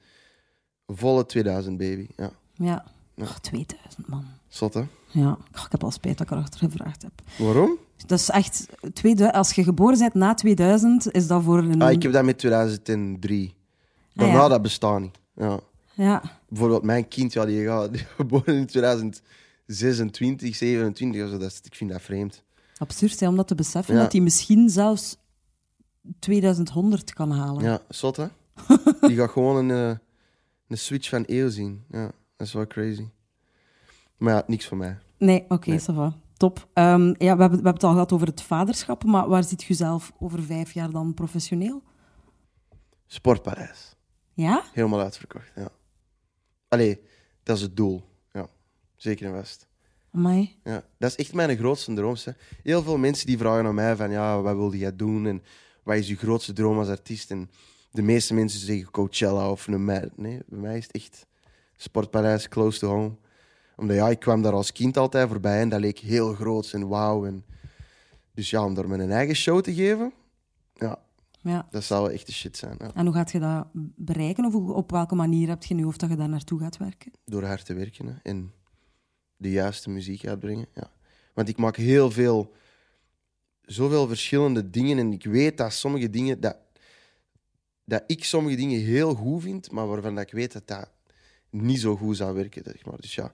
Speaker 3: volle 2000 baby. Ja,
Speaker 2: Ja. Oh, 2000, man.
Speaker 3: zot hè?
Speaker 2: Ja, Oh, ik heb al spijt dat ik erachter gevraagd heb. Dus
Speaker 3: Waarom?
Speaker 2: Dat is echt... 2000, als je geboren bent na 2000, is dat voor een...
Speaker 3: Ah, ik heb dat met 2003.
Speaker 2: Ah,
Speaker 3: Daarna
Speaker 2: ja.
Speaker 3: nou, dat bestaat niet. Ja.
Speaker 2: Ja,
Speaker 3: Bijvoorbeeld mijn kind, ja, die gaat die geboren in 2026, 27 of zo. Dat is, ik vind dat vreemd.
Speaker 2: absurd hè, om dat te beseffen.
Speaker 3: Ja.
Speaker 2: Dat hij misschien zelfs 2100 kan halen.
Speaker 3: Ja, zot hè? Die gaat gewoon een, eh, een switch van eeuw zien. Ja, dat is wel crazy. Maar ja, niks voor mij.
Speaker 2: Nee, oké,
Speaker 3: Nee.
Speaker 2: ça va. Top. Ehm, ja, we hebben, we hebben het al gehad over het vaderschap, maar waar ziet u zelf over vijf jaar dan professioneel?
Speaker 3: Sportpaleis.
Speaker 2: Ja?
Speaker 3: Helemaal uitverkocht, ja. Allee, dat is het doel. Ja, zeker en vast.
Speaker 2: Amai.
Speaker 3: Ja, dat is echt mijn grootste droom. hè. Heel veel mensen die vragen aan mij van, ja, wat wilde jij doen en wat is je grootste droom als artiest? En de meeste mensen zeggen Coachella of een mij. Nee, bij mij is het echt Sportpaleis, close to home. Omdat ja, ik kwam daar als kind altijd voorbij en dat leek heel groot en wauw. En... Dus ja, om daar mijn eigen show te geven, ja,
Speaker 2: Ja.
Speaker 3: dat zou wel echt de shit zijn. Ja.
Speaker 2: En hoe gaat je dat bereiken? Of hoe- op welke manier heb je nu hoofd dat je daar naartoe gaat werken?
Speaker 3: door hard te werken hè, en de juiste muziek uitbrengen. Ja. Want ik maak heel veel, zoveel verschillende dingen en ik weet dat sommige dingen, dat, dat ik sommige dingen heel goed vind, maar waarvan dat ik weet dat dat niet zo goed zou werken. Zeg maar. Dus ja,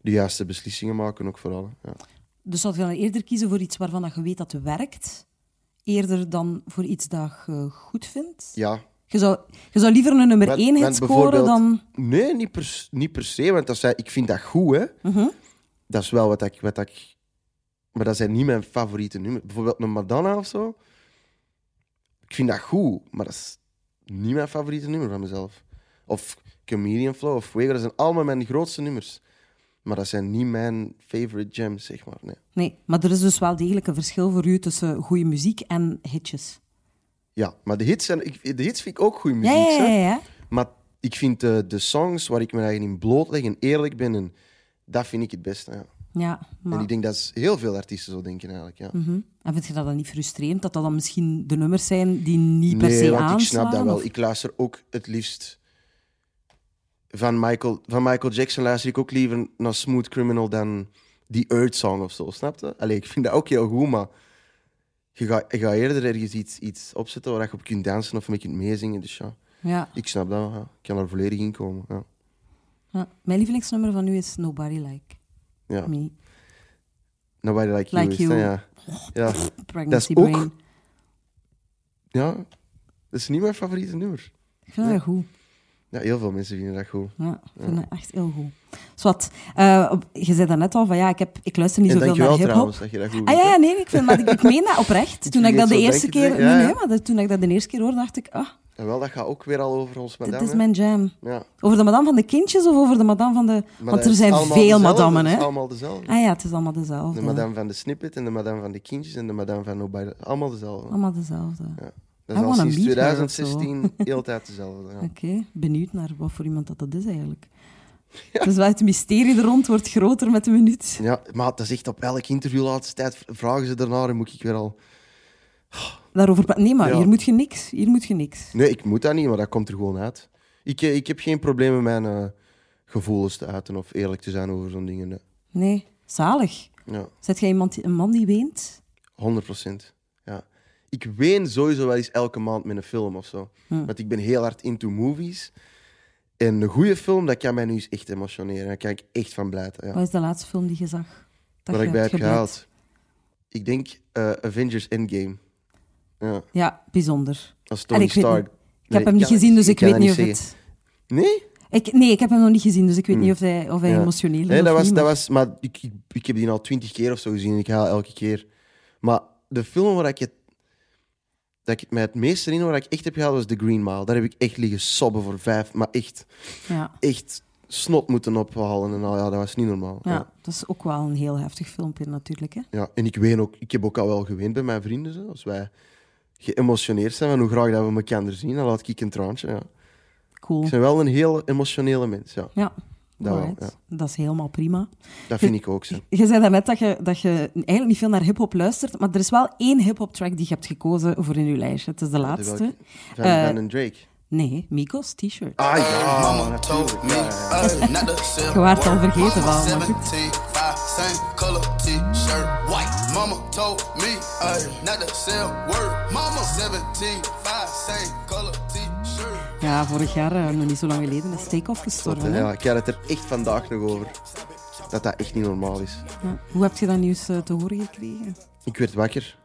Speaker 3: de juiste beslissingen maken ook vooral. hè, Ja.
Speaker 2: Dus zou je dan eerder kiezen voor iets waarvan dat je weet dat het werkt, eerder dan voor iets dat je goed vindt?
Speaker 3: ja.
Speaker 2: Je, zou, je zou liever een nummer
Speaker 3: Want-
Speaker 2: 1 hit
Speaker 3: want
Speaker 2: scoren
Speaker 3: bijvoorbeeld-
Speaker 2: dan...
Speaker 3: Nee, niet per, s- niet per se, want dat zijn, ik vind dat goed, hè.
Speaker 2: Mhm.
Speaker 3: Dat is wel wat ik, wat ik... Maar dat zijn niet mijn favoriete nummers. Bijvoorbeeld een Madonna of zo. Ik vind dat goed, maar dat is niet mijn favoriete nummer van mezelf. Of Comedian Flow of Fuego, dat zijn allemaal mijn grootste nummers. Maar dat zijn niet mijn favorite gems, zeg maar. Nee.
Speaker 2: Nee, maar er is dus wel degelijk een verschil voor u tussen goede muziek en hitjes.
Speaker 3: Ja, maar de hits, zijn, ik, de hits vind ik ook goede
Speaker 2: Ja,
Speaker 3: muziek,
Speaker 2: ja, ja,
Speaker 3: hè.
Speaker 2: ja.
Speaker 3: Maar ik vind eh, de, de songs waar ik me eigen in blootleg en eerlijk ben, en dat vind ik het beste, ja.
Speaker 2: Ja, maar... Mhm.
Speaker 3: En ik denk dat is heel veel artiesten zo denken eigenlijk. Ja.
Speaker 2: En vind je dat dan niet frustrerend, dat dat dan misschien de nummers zijn die niet per se
Speaker 3: nee, want
Speaker 2: aanslaan?
Speaker 3: ik snap dat wel.
Speaker 2: of-
Speaker 3: Ik luister ook het liefst van Michael, van Michael Jackson luister ik ook liever naar Smooth Criminal dan die Earth Song of zo, snap je? Allee, ik vind dat ook heel goed, maar je gaat, je gaat eerder ergens iets, iets opzetten waar je op kunt dansen of mee kunt meezingen. Dus ja,
Speaker 2: Ja,
Speaker 3: ik snap dat wel. ja. Ik kan er volledig in komen. Ja.
Speaker 2: ja. Mijn lievelingsnummer van u is Nobody Like
Speaker 3: Ja.
Speaker 2: Me.
Speaker 3: Nobody Like You.
Speaker 2: Like
Speaker 3: is het, hè,
Speaker 2: You.
Speaker 3: Ja. Ja.
Speaker 2: Pregnancy
Speaker 3: ook-
Speaker 2: Brain.
Speaker 3: ja, dat is niet mijn favoriete nummer.
Speaker 2: Ik vind dat goed.
Speaker 3: Ja, heel veel mensen vinden dat goed.
Speaker 2: Ja, ik vind dat echt heel goed. Zwat, eh, op- je zei dat net al van ja, ik, heb, ik luister niet
Speaker 3: En
Speaker 2: zoveel
Speaker 3: dankjewel
Speaker 2: naar hip-hop.
Speaker 3: trouwens dat je dat goed vindt.
Speaker 2: Ah ja,
Speaker 3: hè.
Speaker 2: ja, nee, ik, vind, maar ik, ik meen dat oprecht. Toen
Speaker 3: je
Speaker 2: ik dat
Speaker 3: het
Speaker 2: de
Speaker 3: zo
Speaker 2: eerste
Speaker 3: denkt,
Speaker 2: keer.
Speaker 3: denk-
Speaker 2: Nee,
Speaker 3: ja,
Speaker 2: nee,
Speaker 3: ja.
Speaker 2: maar dat, toen ik dat de eerste keer hoorde, dacht ik, ah,
Speaker 3: En wel, dat gaat ook weer al over ons madame.
Speaker 2: Dit is
Speaker 3: hè.
Speaker 2: mijn jam.
Speaker 3: Ja.
Speaker 2: Over de madame van de kindjes of over de madame van de...
Speaker 3: Maar
Speaker 2: Want
Speaker 3: dat
Speaker 2: er
Speaker 3: is
Speaker 2: zijn
Speaker 3: allemaal
Speaker 2: veel
Speaker 3: dezelfde,
Speaker 2: madammen,
Speaker 3: dat
Speaker 2: hè?
Speaker 3: is allemaal dezelfde.
Speaker 2: Ah ja, het is allemaal dezelfde.
Speaker 3: De madame van de snippet en de madame van de kindjes en de madame van Nobody. Allemaal dezelfde.
Speaker 2: Allemaal ah, dezelfde.
Speaker 3: Ja. Dat
Speaker 2: I
Speaker 3: is al
Speaker 2: wanna
Speaker 3: sinds
Speaker 2: meet her of
Speaker 3: 2016 heel de tijd dezelfde. Ja.
Speaker 2: Oké, benieuwd naar wat voor iemand dat, dat is eigenlijk. Dus wel, het mysterie er rond wordt groter met de minuut.
Speaker 3: ja, maar dat is echt op elk interview laatste tijd vragen ze daarnaar en moet ik weer al...
Speaker 2: Daarover... pra- Nee, maar
Speaker 3: Ja.
Speaker 2: hier moet je niks. Hier moet je niks.
Speaker 3: Nee, ik moet dat niet, maar dat komt er gewoon uit. Ik, eh, ik heb geen probleem met mijn eh, gevoelens te uiten of eerlijk te zijn over zo'n dingen. nee.
Speaker 2: Nee. Zalig.
Speaker 3: Ja,
Speaker 2: Zet jij iemand, die- een man die weent?
Speaker 3: 100 procent. Ja. Ik ween sowieso wel eens elke maand met een film of zo. Want ik ben heel hard into movies. En een goede film, dat kan mij nu eens echt emotioneren. Daar kan ik echt van blijten. Ja.
Speaker 2: Wat is de laatste film die je zag? Oh, Dat
Speaker 3: Waar
Speaker 2: je
Speaker 3: ik bij
Speaker 2: hebt
Speaker 3: heb
Speaker 2: gebleid?
Speaker 3: gehaald. Ik denk eh, Avengers Endgame. Ja,
Speaker 2: Ja, bijzonder.
Speaker 3: als
Speaker 2: En
Speaker 3: Tony
Speaker 2: ik weet
Speaker 3: Stark.
Speaker 2: niet- Ik heb hem niet gezien, dus ik weet niet of het...
Speaker 3: Nee?
Speaker 2: Ik, nee, ik heb hem nog niet gezien, dus ik weet niet of hij, of hij
Speaker 3: Hmm. Ja.
Speaker 2: emotioneel is
Speaker 3: Nee,
Speaker 2: of
Speaker 3: dat was,
Speaker 2: niet,
Speaker 3: dat
Speaker 2: maar-
Speaker 3: was, maar ik, ik, ik heb die al twintig keer of zo gezien en ik haal elke keer. Maar de film waar ik het, dat ik het mij het meest herinner, waar ik echt heb gehaald, was The Green Mile. Daar heb ik echt liggen sobben voor vijf, maar echt,
Speaker 2: Ja.
Speaker 3: echt snot moeten ophalen. En al, ja, dat was niet normaal.
Speaker 2: Ja,
Speaker 3: Ja.
Speaker 2: dat is ook wel een heel heftig filmpje natuurlijk. Hè?
Speaker 3: Ja, en ik, ween ook, ik heb ook al wel gewend bij mijn vrienden. Zo. Als wij geëmotioneerd zijn van hoe graag dat we elkaar zien, dan laat ik een traantje. Ja.
Speaker 2: Cool.
Speaker 3: Ik ben wel een heel emotionele mens. Ja.
Speaker 2: Ja,
Speaker 3: Dat wel,
Speaker 2: alright. Dat is helemaal prima.
Speaker 3: Dat vind ik ook zo.
Speaker 2: Je zei daarnet dat je, dat je eigenlijk niet veel naar hip-hop luistert, maar er is wel één hip-hop track die je hebt gekozen voor in je lijstje. Het is de laatste.
Speaker 3: Van,
Speaker 2: Eh,
Speaker 3: van een Drake.
Speaker 2: Nee, Migos T-shirt.
Speaker 3: Ah ja,
Speaker 6: Mama told me uh, not to sell.
Speaker 2: Je waart al vergeten wel, maar goed.
Speaker 6: 17, five, same color t-shirt, white. Mama told me uh, not to sell word. Mama 17, five, same color t-shirt.
Speaker 2: Ja, vorig jaar, eh, nog niet zo lang geleden, is Takeoff gestorven. hè?
Speaker 3: eh, Ja, ik had het er echt vandaag nog over. Dat dat echt niet normaal is.
Speaker 2: Ja. Hoe heb je dat nieuws eh, te horen gekregen?
Speaker 3: Ik werd wakker.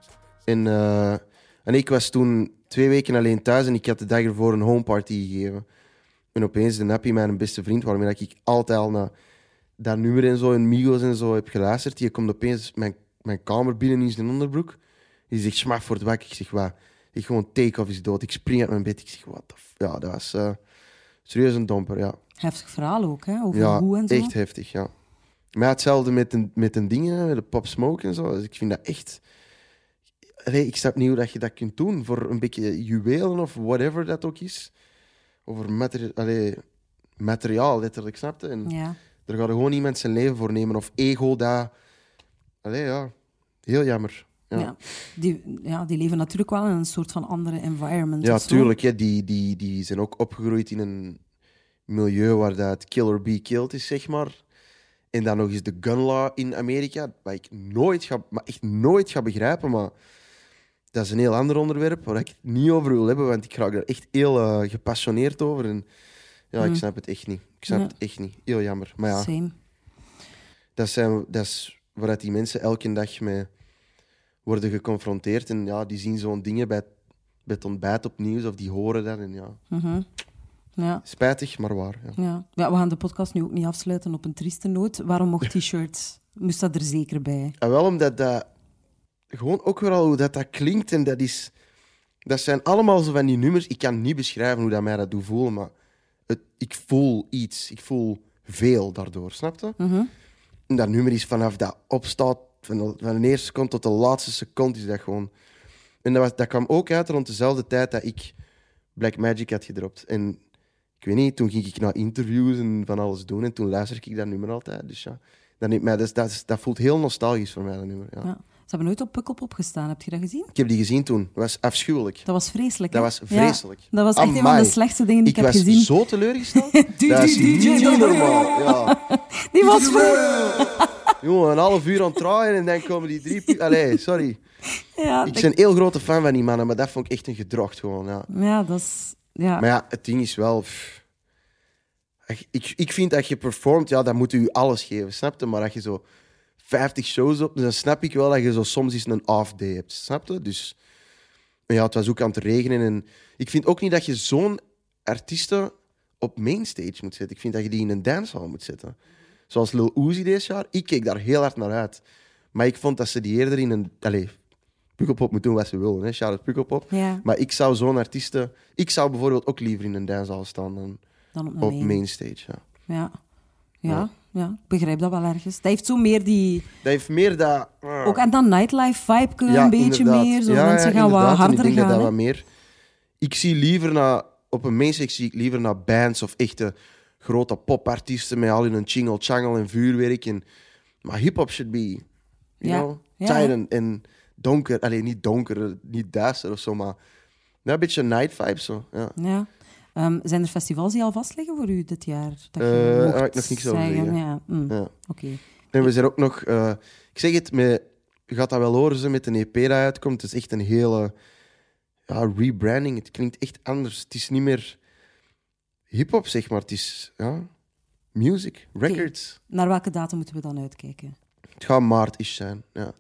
Speaker 3: En, eh, en ik was toen twee weken alleen thuis en ik had de dag ervoor een homeparty gegeven. En opeens de Nappy, mijn beste vriend, waarmee dat ik altijd al naar dat nummer en zo, en Migos en zo heb geluisterd, die komt opeens mijn, mijn kamer binnen in zijn onderbroek. Die zegt, smaf voor het wakker. Ik zeg, wat? Ik gewoon, take-off is dood. Ik spring uit mijn bed. Ik zeg, wat? Ja, dat was eh, serieus een domper, ja.
Speaker 2: Heftig verhaal ook, hè? over
Speaker 3: Ja,
Speaker 2: hoe en zo.
Speaker 3: echt heftig, ja. Maar ja, hetzelfde met een, met een ding, hè, met de pop smoke en zo. Dus ik vind dat echt... Allee, ik snap niet hoe dat je dat kunt doen voor een beetje juwelen of whatever dat ook is. Over materi- allee, materiaal, letterlijk, snapte. En
Speaker 2: Ja.
Speaker 3: er gaat gewoon iemand zijn leven voor nemen. Of ego, dat... Allee, ja. Heel jammer. Ja,
Speaker 2: Ja. Die, ja, die leven natuurlijk wel in een soort van andere environment.
Speaker 3: Ja,
Speaker 2: of zo.
Speaker 3: tuurlijk. Hè. Die, die, die zijn ook opgegroeid in een milieu waar dat het kill or be killed is, zeg maar. En dan nog eens de gun law in Amerika, wat ik nooit ga, maar echt nooit ga begrijpen. Maar dat is een heel ander onderwerp waar ik het niet over wil hebben, want ik raak er echt heel eh, gepassioneerd over. En ja, ik snap het echt niet. Ik snap
Speaker 2: Mm. Ja.
Speaker 3: het echt niet. Heel jammer. Maar ja,
Speaker 2: Same.
Speaker 3: dat, zijn, dat is waar dat die mensen elke dag mee worden geconfronteerd. En ja, die zien zo'n dingen bij, bij het ontbijt op nieuws of die horen dat. En ja,
Speaker 2: Ja.
Speaker 3: spijtig, maar waar. Ja.
Speaker 2: Ja. ja, we gaan de podcast nu ook niet afsluiten op een trieste noot. Waarom mocht t-shirts? Moest dat er zeker bij?
Speaker 3: En wel omdat dat... Gewoon ook weer al hoe dat, dat klinkt. En dat is... Dat zijn allemaal zo van die nummers. Ik kan niet beschrijven hoe dat mij dat doet voelen, maar het, ik voel iets. Ik voel veel daardoor, snap je? En dat nummer is vanaf dat opstaat, van de, van de eerste seconde tot de laatste seconde, is dat gewoon... En dat, was, dat kwam ook uit rond dezelfde tijd dat ik Black Magic had gedropt. En ik weet niet, toen ging ik naar interviews en van alles doen. En toen luisterde ik dat nummer altijd. Dus ja, dat, neemt mij, dat, is- dat, is- dat voelt heel nostalgisch voor mij, dat nummer. Ja.
Speaker 2: Ja. Ze hebben nooit op Pukkelpop gestaan, heb je dat gezien?
Speaker 3: Ik heb die gezien toen. Dat was afschuwelijk.
Speaker 2: Dat was vreselijk.
Speaker 3: Dat
Speaker 2: hè?
Speaker 3: was vreselijk.
Speaker 2: Ja, dat was echt een van
Speaker 3: Amai.
Speaker 2: de slechtste dingen die ik, heb
Speaker 3: was
Speaker 2: gezien.
Speaker 3: zo teleurgesteld.
Speaker 2: Du-
Speaker 3: dat is
Speaker 2: du- du- du-
Speaker 3: niet
Speaker 2: du-
Speaker 3: normaal. Ja.
Speaker 2: Die was vreselijk.
Speaker 3: Jongen, een half uur aan het draaien en dan komen die drie... pu- Allee, sorry.
Speaker 2: Ja,
Speaker 3: Ik
Speaker 2: dat-
Speaker 3: ben een heel grote fan van die mannen, maar dat vond ik echt een gedrocht gewoon. Ja.
Speaker 2: ja, dat is... Ja.
Speaker 3: Maar ja, het ding is wel... pff. Ach, Ik, ik vind dat je performt, ja, dat moet u alles geven, snap je? Maar als je zo 50 shows op, dan snap ik wel dat je zo soms eens een off-day hebt, snap je? Dus maar ja, het was ook aan het regenen. En ik vind ook niet dat je zo'n artiesten op mainstage moet zetten. Ik vind dat je die in een dancehall moet zetten. Zoals Lil Uzi deze jaar, ik keek daar heel hard naar uit. Maar ik vond dat ze die eerder in een... Allee, Pukkelpop moet doen wat ze willen, hè. Shout-out Pukkelpop.
Speaker 2: Ja.
Speaker 3: Maar ik zou zo'n artiesten... Ik zou bijvoorbeeld ook liever in een dancehall staan dan
Speaker 2: Dan op
Speaker 3: op
Speaker 2: mijn main.
Speaker 3: mainstage, ja.
Speaker 2: Ja. Ja, ja, ik begrijp dat wel ergens. Dat heeft zo meer die...
Speaker 3: Dat heeft meer dat... eh,
Speaker 2: Ook, en dan nightlife vibe een beetje
Speaker 3: inderdaad.
Speaker 2: meer. Zo
Speaker 3: Ja, ja,
Speaker 2: mensen gaan wat
Speaker 3: inderdaad. En
Speaker 2: harder
Speaker 3: ik denk
Speaker 2: gaan.
Speaker 3: Dat
Speaker 2: hè.
Speaker 3: dat wat meer... Ik zie liever naar... Op een mainstage zie ik liever naar bands of echte grote popartiesten met al hun chingle changel en vuurwerk. En, maar hip-hop should be, you
Speaker 2: Ja.
Speaker 3: know,
Speaker 2: Ja,
Speaker 3: tight
Speaker 2: ja.
Speaker 3: en, en donker. Alleen niet donker, niet duister of zo, maar ja, een beetje night vibe zo. Ja.
Speaker 2: Ja. Ehm, zijn er festivals die al vastliggen voor u dit jaar? Dat je
Speaker 3: Eh, daar
Speaker 2: mocht
Speaker 3: ga ik nog niks over zeggen.
Speaker 2: Ja. mm,
Speaker 3: Ja.
Speaker 2: Oké.
Speaker 3: En we zijn ook nog, eh, ik zeg het, met, je gaat dat wel horen ze met een EP dat uitkomt. Het is echt een hele ja, rebranding. Het klinkt echt anders. Het is niet meer hip-hop, zeg maar. Het is ja, music, records.
Speaker 2: Naar welke datum moeten we dan uitkijken?
Speaker 3: Het gaat maart is zijn. Ja.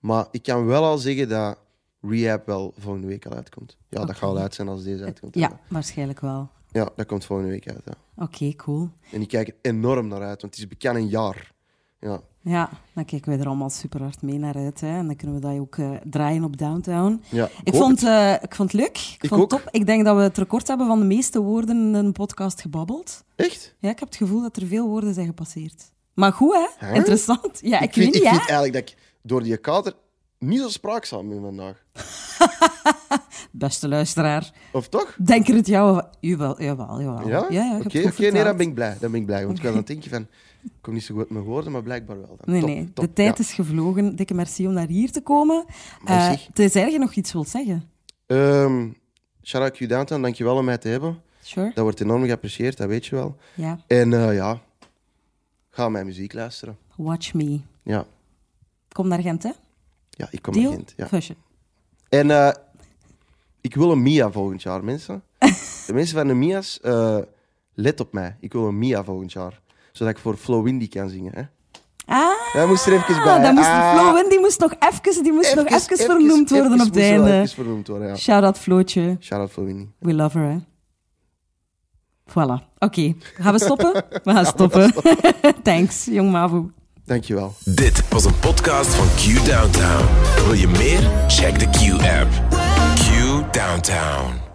Speaker 3: Maar ik kan wel al zeggen dat Rehab wel volgende week al uitkomt. Ja, dat gaat al uit zijn als deze uitkomt.
Speaker 2: Ja, waarschijnlijk wel.
Speaker 3: ja dat komt volgende week uit. Ja.
Speaker 2: Oké, cool.
Speaker 3: En ik kijk er enorm naar uit, want het is bekend een jaar. Ja.
Speaker 2: Ja, dan kijken wij er allemaal super hard mee naar uit. Hè. En dan kunnen we dat ook eh, draaien op Downtown.
Speaker 3: Ja, ik
Speaker 2: ik,
Speaker 3: hoop
Speaker 2: vond, eh, ik vond het leuk. Ik,
Speaker 3: Ik
Speaker 2: vond het
Speaker 3: ook.
Speaker 2: top. Ik denk dat we het record hebben van de meeste woorden in een podcast gebabbeld.
Speaker 3: Echt?
Speaker 2: Ja, ik heb het gevoel dat er veel woorden zijn gepasseerd. Maar goed, hè?
Speaker 3: Hè?
Speaker 2: Interessant. Ja, ik,
Speaker 3: ik, vind,
Speaker 2: weet
Speaker 3: ik
Speaker 2: niet,
Speaker 3: vind
Speaker 2: hè?
Speaker 3: eigenlijk dat ik door die kater niet zo spraakzaam ben vandaag.
Speaker 2: Beste luisteraar.
Speaker 3: Of toch?
Speaker 2: Denk er het jou of... Jawel, jawel, jawel.
Speaker 3: Ja?
Speaker 2: ja, ja
Speaker 3: Oké,
Speaker 2: ik heb het
Speaker 3: oké,
Speaker 2: goed
Speaker 3: nee, dan
Speaker 2: vertaald.
Speaker 3: ben ik blij. Dan ben ik blij. Want ik was aan het denken van, ik kom niet zo goed met woorden, maar blijkbaar wel. Dan.
Speaker 2: Nee,
Speaker 3: Top,
Speaker 2: nee.
Speaker 3: top.
Speaker 2: De tijd
Speaker 3: Ja.
Speaker 2: is gevlogen. Dikke merci om naar hier te komen.
Speaker 3: Maar
Speaker 2: Eh,
Speaker 3: zeg.
Speaker 2: Tenzij je nog iets wilt zeggen.
Speaker 3: Ehm, Shout-out Q Downtown, dankjewel om mij te hebben.
Speaker 2: Sure.
Speaker 3: Dat wordt enorm geapprecieerd, dat weet je wel.
Speaker 2: Ja.
Speaker 3: En eh, ja, ga mijn muziek luisteren.
Speaker 2: Watch me.
Speaker 3: Ja,
Speaker 2: Kom naar Gent, hè?
Speaker 3: ja ik kom
Speaker 2: Deal?
Speaker 3: naar Gent, Ja.
Speaker 2: Fusje.
Speaker 3: En eh, ik wil een Mia volgend jaar, mensen. De mensen van de Mia's, eh, let op mij. Ik wil een Mia volgend jaar. Zodat ik voor Flo Windy kan zingen. Hè?
Speaker 2: Ah,
Speaker 3: Hij moest er even bij.
Speaker 2: ah, dan moest
Speaker 3: Ah,
Speaker 2: Flo Win, die moest nog even, die moest nog even, vernoemd worden
Speaker 3: even
Speaker 2: op het
Speaker 3: moest wel
Speaker 2: einde.
Speaker 3: Even vernoemd worden, ja.
Speaker 2: Shout-out Flootje.
Speaker 3: Shout-out Flo Windy.
Speaker 2: We love her, hè? Voilà. Oké. Gaan we stoppen? We gaan stoppen. Thanks, jong Mavo.
Speaker 3: Dankjewel.
Speaker 1: Dit was een podcast van Q Downtown. Wil je meer? Check de Q-app. Q Downtown.